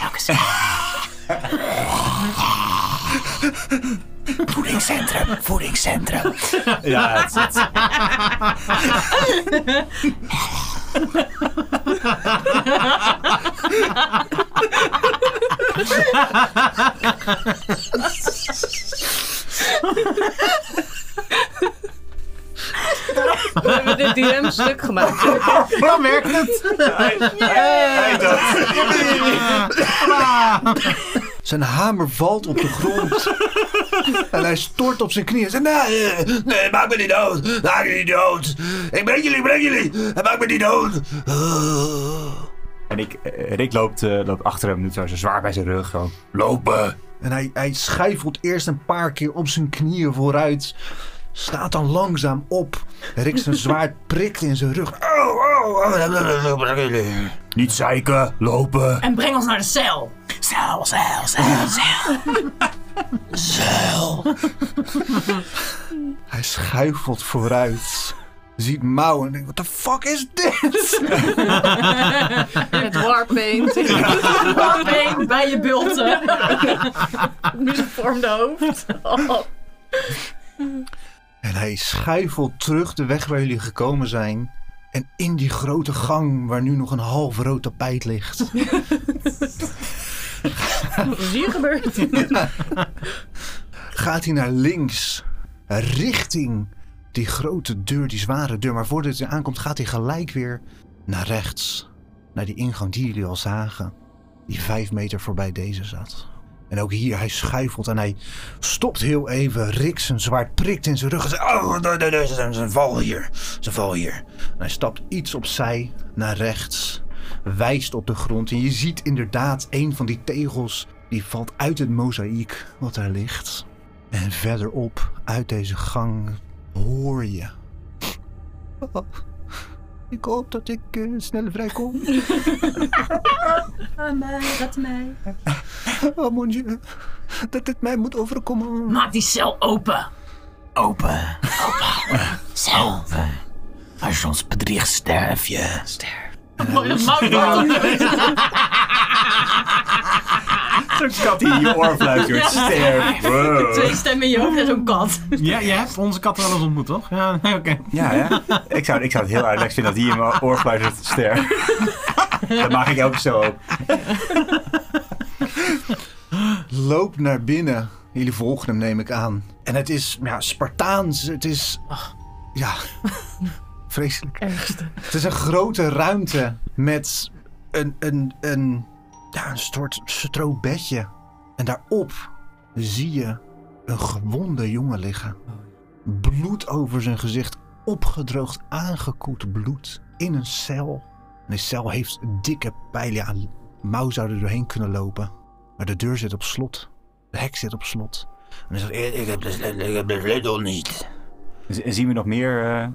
S6: Welke cel?
S9: Voedingscentrum. Voedingscentrum.
S7: Ja, het, het-
S4: We hebben dit DM-stuk gemaakt.
S3: Dan werkt het.
S5: Zijn hamer valt op de grond. en hij stort op zijn knieën. Hij zegt, "Nee, eh,
S9: Nee, maak me niet dood. Maak me niet dood. Ik breng jullie, ik breng jullie. En maak me niet dood.
S7: En ik, eh, Rick loopt, eh, loopt achter hem, doet zo zo zwaar bij zijn
S1: <laughs>
S7: rug. Gewoon.
S9: Lopen.
S5: En hij, hij schuifelt eerst een paar keer op zijn knieën vooruit. Staat dan langzaam op. Rick zijn zwaard prikt in zijn rug.
S9: Oh, oh, oh. Niet zeiken. Lopen.
S6: En breng ons naar de cel. Cel, cel, cel, cel.
S5: Hij schuifelt vooruit. Ziet mouwen en denkt, wat de fuck is dit?
S4: Met <laughs> warpaint.
S6: Bang, bij je bulten.
S4: Misvormde <laughs> hoofd. Oh.
S5: En hij schuifelt terug de weg waar jullie gekomen zijn. En in die grote gang waar nu nog een half rood tapijt ligt.
S4: Wat is hier gebeurd?
S5: gaat hij naar links. Richting die grote deur, die zware deur. Maar voordat hij aankomt, gaat hij gelijk weer naar rechts. Naar die ingang die jullie al zagen. Die vijf meter voorbij deze zat. En ook hier, hij schuifelt en hij stopt heel even. Rick zijn zwaard prikt in zijn rug. En zegt, oh, er er- er is een- een val hier. Er is een val hier. En hij stapt iets opzij naar rechts. Wijst op de grond. En je ziet inderdaad een van die tegels. Die valt uit het mozaïek wat daar ligt. En verderop, uit deze gang, hoor je. Oh, ik hoop dat ik eh, snel vrijkom.
S6: Ah, mij, dat mij.
S5: Oh, mon dieu. Dat het mij moet overkomen.
S6: Maak die cel open.
S11: Open. Open. Open. Als je ons bedriegt, sterf je.
S7: Zo'n kat die in je oor fluistert. Sterf.
S6: Twee stemmen in je hoofd en zo'n kat.
S3: Ja, je hebt onze kat wel eens ontmoet, toch? Ja, <laughs> nee, oké.
S7: Ja, ja. Ik zou, ik zou het heel aardig vinden dat hij in mijn oor fluistert.
S4: <laughs>
S7: Sterf. Dat maak ik ook zo op.
S5: Loop naar binnen. Jullie volgen hem, neem ik aan. En het is ja, Spartaans. Het is. Ja, <laughs> vreselijk. Het is een grote ruimte met een, een, een, ja, een soort stroobedje. En daarop zie je een gewonde jongen liggen. Bloed over zijn gezicht, opgedroogd, aangekoeld bloed in een cel. En die cel heeft dikke pijlen aan mouw zouden doorheen kunnen lopen. Maar de deur zit op slot. De hek zit op slot. En hij zegt, "Ik- ik heb dus-" de sleutel."
S11: Ik heb de sleutel niet.
S7: Z- zien we nog meer, eh,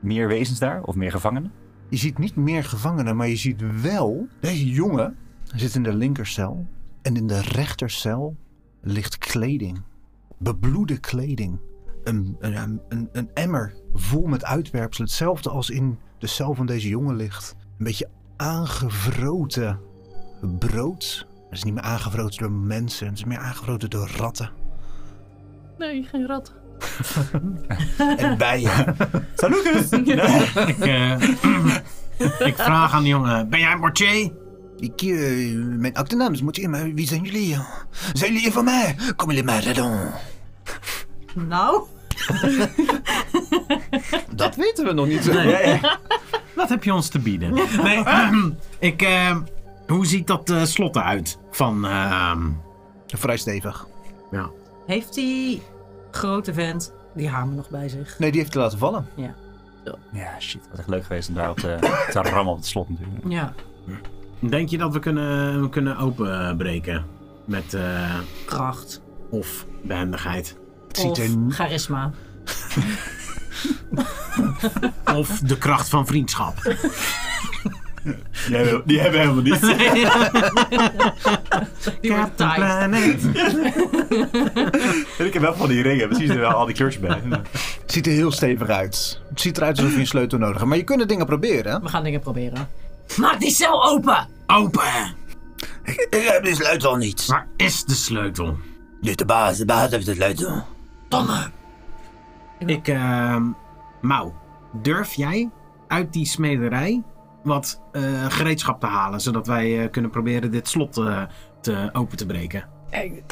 S7: meer wezens daar? Of meer gevangenen?
S5: Je ziet niet meer gevangenen, maar je ziet wel... Deze jongen zit in de linkercel. En in de rechtercel ligt kleding. Bebloede kleding. Een, een, een- een, een emmer vol met uitwerpselen. Hetzelfde als in de cel van deze jongen ligt. Een beetje aangevroten brood. Het is niet meer aangevroten door mensen. Het is meer aangevroten door ratten.
S4: Nee, geen rat.
S5: En bijen.
S7: Salukus!
S4: <laughs>
S7: Nee.
S3: Ik, eh, <clears throat> ik vraag aan die jongen, ben jij Mortier?
S5: Ik, eh, mijn achternaam is Moutier, maar wie zijn jullie? Zijn jullie van mij? Kom jullie mij redden?
S6: Nou,
S12: Dat weten we nog niet.
S3: Wat heb je ons te bieden? Nee, ik, eh, hoe ziet dat eh, slot eruit? Van, ehm,
S5: Vrij stevig.
S6: heeft die grote vent die hamer nog bij zich?
S5: Nee, die heeft te laten vallen.
S7: Ja, shit. Dat is echt leuk geweest om daar op te, te rammen op het slot natuurlijk.
S6: Ja.
S3: denk je dat we kunnen, we kunnen openbreken? Met, eh,
S6: Kracht.
S3: of behendigheid?
S5: Het
S6: Of
S5: ziet er n-
S6: charisma.
S3: Of de kracht van vriendschap?
S7: Die hebben, die hebben helemaal niet.
S6: Die wordt taai.
S3: Planet.
S7: En ik heb wel van die ringen. Precies, er wel al die kleurtjes bij.
S5: het ziet er heel stevig uit. Het ziet eruit alsof je een sleutel nodig hebt. Maar je kunt de dingen proberen.
S6: We gaan dingen proberen. Maak die cel open!
S3: Open!
S11: Ik heb de sleutel niet.
S3: Waar is de sleutel?
S11: Dit de baas. De baas heeft de sleutel.
S6: Domme!
S3: Ik, ehm Mau, durf jij uit die smederij wat eh, gereedschap te halen, zodat wij eh, kunnen proberen dit slot eh, te, open te breken?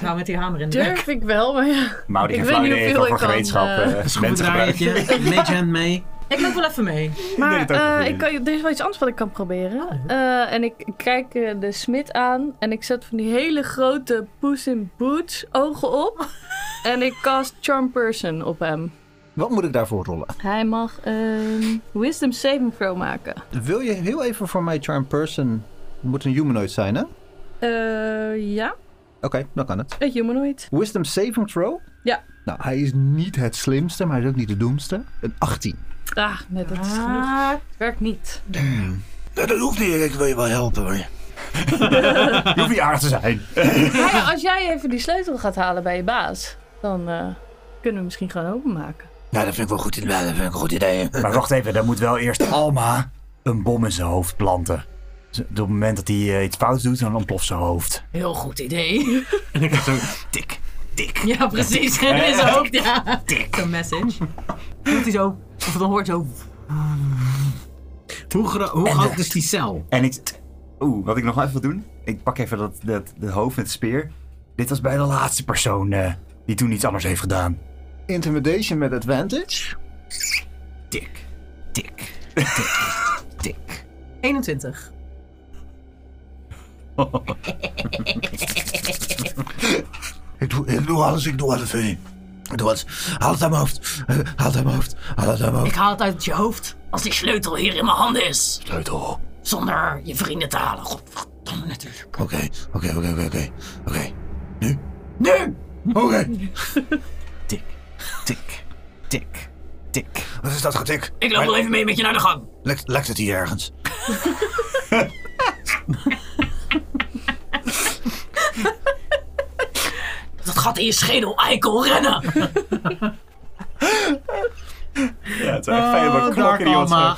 S6: Nou, met die hamer in de bek.
S4: Durf ik wel, maar ja.
S7: Maar die
S4: Ik
S7: geen
S4: weet
S7: flauw
S4: niet
S7: idee heeft
S4: hoeveel
S7: over
S4: ik kan,
S7: gemeenschap.
S4: eh,
S7: eh, mensen gebruiken.
S3: Schoendraaitje, mage hand
S7: <laughs>
S3: mee.
S6: Ik loop wel even mee.
S7: het
S4: Maar
S7: ook
S4: eh,
S7: proberen.
S4: ik kan, er is wel iets anders wat ik kan proberen.
S5: Oh,
S4: Eh, en ik ik kijk eh, de smid aan en ik zet van die hele grote poes in boots ogen <laughs> op. en ik cast Charm Person op hem.
S5: Wat moet ik daarvoor rollen?
S4: Hij mag een Wisdom Saving Throw maken.
S5: Wil je heel even voor mij charm person... Het moet een humanoid zijn, hè? Oké,
S4: Eh ja,
S5: dan kan het.
S4: een humanoid.
S5: Wisdom saving throw?
S4: Ja.
S5: Nou, hij is niet het slimste, maar hij is ook niet de domste. Een 18.
S4: Ah, net dat is genoeg. Ah, Het werkt niet.
S5: Nou,
S11: Dat hoeft niet. Ik wil je wel helpen
S5: <laughs>
S11: hoor.
S7: Je hoeft niet aardig te zijn.
S4: Maar ja, als jij even die sleutel gaat halen bij je baas, dan eh, kunnen we misschien gewoon openmaken.
S11: Nou, dat vind ik wel goed. Ja, dat vind ik een goed idee.
S7: Maar wacht even, dan moet wel eerst Alma een bom in zijn hoofd planten. Dus op het moment dat hij eh, iets fout doet, dan ontploft zijn hoofd.
S6: Heel goed idee.
S3: <laughs> En ik heb zo tik, tik.
S6: Ja, precies. Dat is ook, ja. Zo'n message. Doet hij zo. Of dan hoort zo.
S3: Hoe, gro- hoe groot is die cel?
S7: En ik... Oeh, wat ik nog wel even wil doen. Ik pak even dat, dat, dat hoofd met de speer. Dit was bij de laatste persoon eh, die toen iets anders heeft gedaan.
S5: Intimidation met advantage?
S3: Tik.
S6: 21.
S11: Ik doe, ik doe alles. Ik doe alles voor je. Ik doe alles. Haal het uit mijn hoofd. Eh, Haal het uit mijn hoofd. Haal het uit mijn
S6: Ik
S11: hoofd.
S6: haal het uit je hoofd. Als die sleutel hier in mijn handen is.
S11: Sleutel.
S6: Zonder je vrienden te halen. Godverdomme natuurlijk.
S11: Oké, oké, oké, oké, oké. Oké. Nu? Nu!
S13: Oké.
S3: Tik, tik, tik, tik.
S13: Wat is dat getik?
S6: Ik loop wel even mee met je naar de gang.
S13: Lekt, lekt het hier ergens?
S6: Dat gat in je schedel, eikel, rennen!
S1: Ja, het is echt fijn
S6: Oh,
S1: dat we knokken die ons
S8: Alma.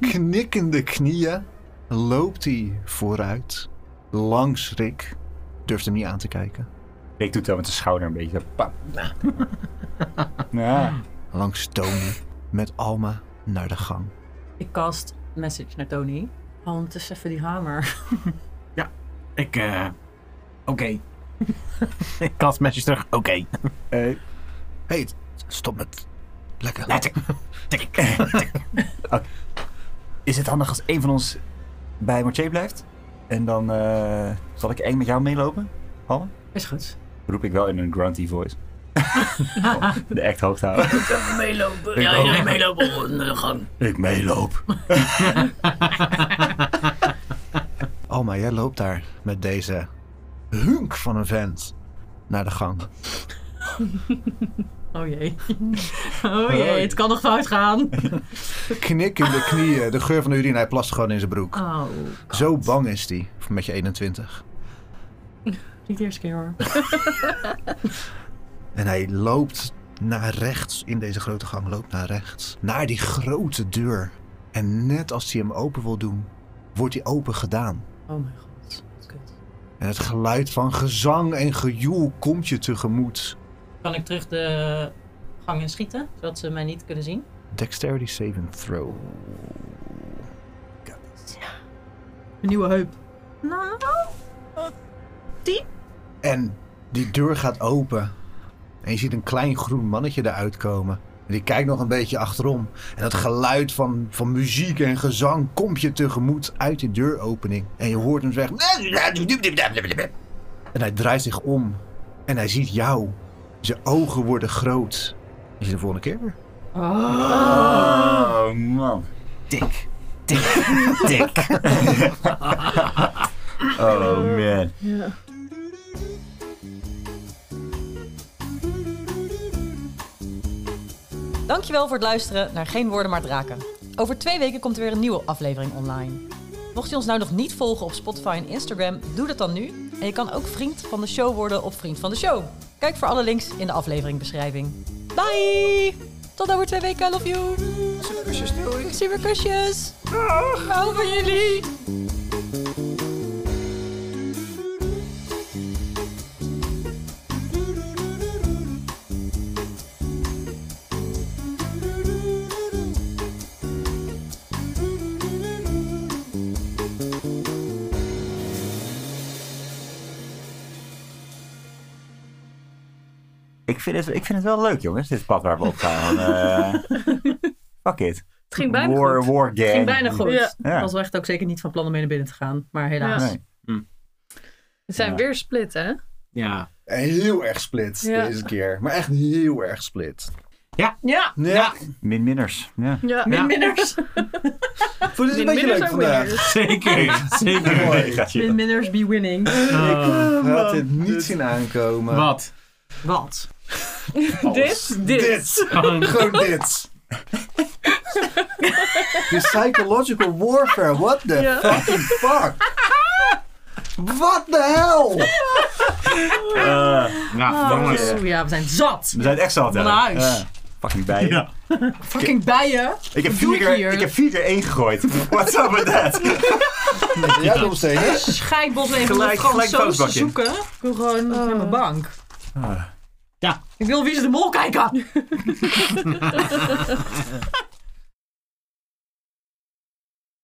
S5: knikkende knieën loopt hij vooruit. Langs Rick. Durft hem niet aan te kijken.
S1: Ik doe het wel met zijn schouder een beetje. Pap. Ja.
S5: Langs Tony. Met Alma naar de gang.
S6: Ik cast message naar Tony. Haal ondertussen even die hamer. <laughs>
S8: Ik, eh, Oké. Ik Kast matches terug. Oké.
S1: Eh,
S13: Hé, hey, stop met lekker.
S1: ja, tik, tik, tik. Oké. Is het handig als een van ons bij Mortier blijft? En dan eh, zal ik eng met jou meelopen? Halle?
S6: Is goed.
S1: Roep ik wel in een grunty
S6: <laughs>
S1: voice. de echt hoog te houden.
S6: Meelopen. Ja, iedereen meelopen naar de gang.
S13: Ik meeloop.
S5: Alma, Oh, jij loopt daar met deze hunk van een vent naar de gang.
S6: Oh jee. <laughs> Oh jee, het kan nog fout gaan.
S5: Knikkende knieën. De geur van de urine. Hij plast gewoon in zijn broek.
S6: Oh,
S5: Zo bang is hij. Met je 21.
S6: niet de eerste keer hoor.
S5: En hij loopt naar rechts, in deze grote gang loopt naar rechts, naar die grote deur. En net als hij hem open wil doen, wordt hij open gedaan.
S6: Oh mijn god, wat kut.
S5: En het geluid van gezang en gejoel komt je tegemoet.
S6: Kan ik terug de gang in schieten, zodat ze mij niet kunnen zien?
S5: Dexterity saving throw.
S6: Een nieuwe heup. Nou,
S5: En die deur gaat open. En je ziet een klein groen mannetje eruit komen. En die kijkt nog een beetje achterom. En dat geluid van, van muziek en gezang komt je tegemoet uit die deuropening. En je hoort hem zeggen... En hij draait zich om. En hij ziet jou. Zijn ogen worden groot. Je ziet de volgende keer weer.
S1: Oh man.
S3: Tik, tik, tik.
S1: Oh man.
S6: Dankjewel voor het luisteren naar Geen Woorden Maar Draken. Over twee weken komt er weer een nieuwe aflevering online. Mocht je ons nou nog niet volgen op Spotify en Instagram, doe dat dan nu. En je kan ook vriend van de show worden op Vriend van de Show. Kijk voor alle links in de afleveringbeschrijving. Bye! Tot over twee weken, I love you! Super kusjes! Ik hou van jullie!
S1: Ik vind, het, ik vind het wel leuk, jongens, dit pad waar we op <laughs> gaan. Eh, fuck it.
S4: Het ging bijna
S1: war,
S4: goed.
S1: war gang.
S6: Ging bijna goed.
S4: Ja.
S1: Ja.
S6: was wel echt ook zeker niet van plan om mee naar binnen te gaan, maar helaas.
S1: Nee.
S4: We zijn weer split, hè?
S3: Ja.
S14: En heel erg split
S4: Ja.
S14: deze keer. Maar echt heel erg split.
S6: Ja!
S14: Ja.
S1: Min minners. Ja.
S4: Ja.
S6: Minners!
S14: Vond je het een beetje
S4: Min- minder
S14: leuk
S4: zijn <laughs> winners.
S14: vandaag?
S1: <laughs>
S3: Zeker, zeker.
S14: Mooi.
S1: Ja.
S6: Minners be winning.
S14: Ik had het niet zien aankomen.
S8: Wat?
S6: Wat?
S4: Dit, dit.
S14: Dit. Gewoon dit. De psychological warfare. What the
S4: Ja.
S14: fucking fuck? What the hell?
S3: Nou, jongens.
S6: Oh, ja, we zijn zat!
S1: We zijn het echt zat, hè?
S6: Van huis.
S1: Ja. Fucking bijen.
S3: Ja.
S6: Fucking bijen!
S1: Ik heb
S6: Wat
S1: vier
S6: doe ik
S1: keer,
S6: hier?
S1: ik heb vier keer één gegooid. <laughs> What's up with that?
S14: Ja, Tom Steeners.
S6: Schijnbos even
S1: Gelijk-
S6: gelijk, gewoon
S1: gelijk
S6: zo te
S1: vuilnisbakje.
S6: zoeken. Ik wil gewoon naar mijn bank.
S1: Ah.
S3: Ja.
S6: Ik wil Wie is de Mol kijken.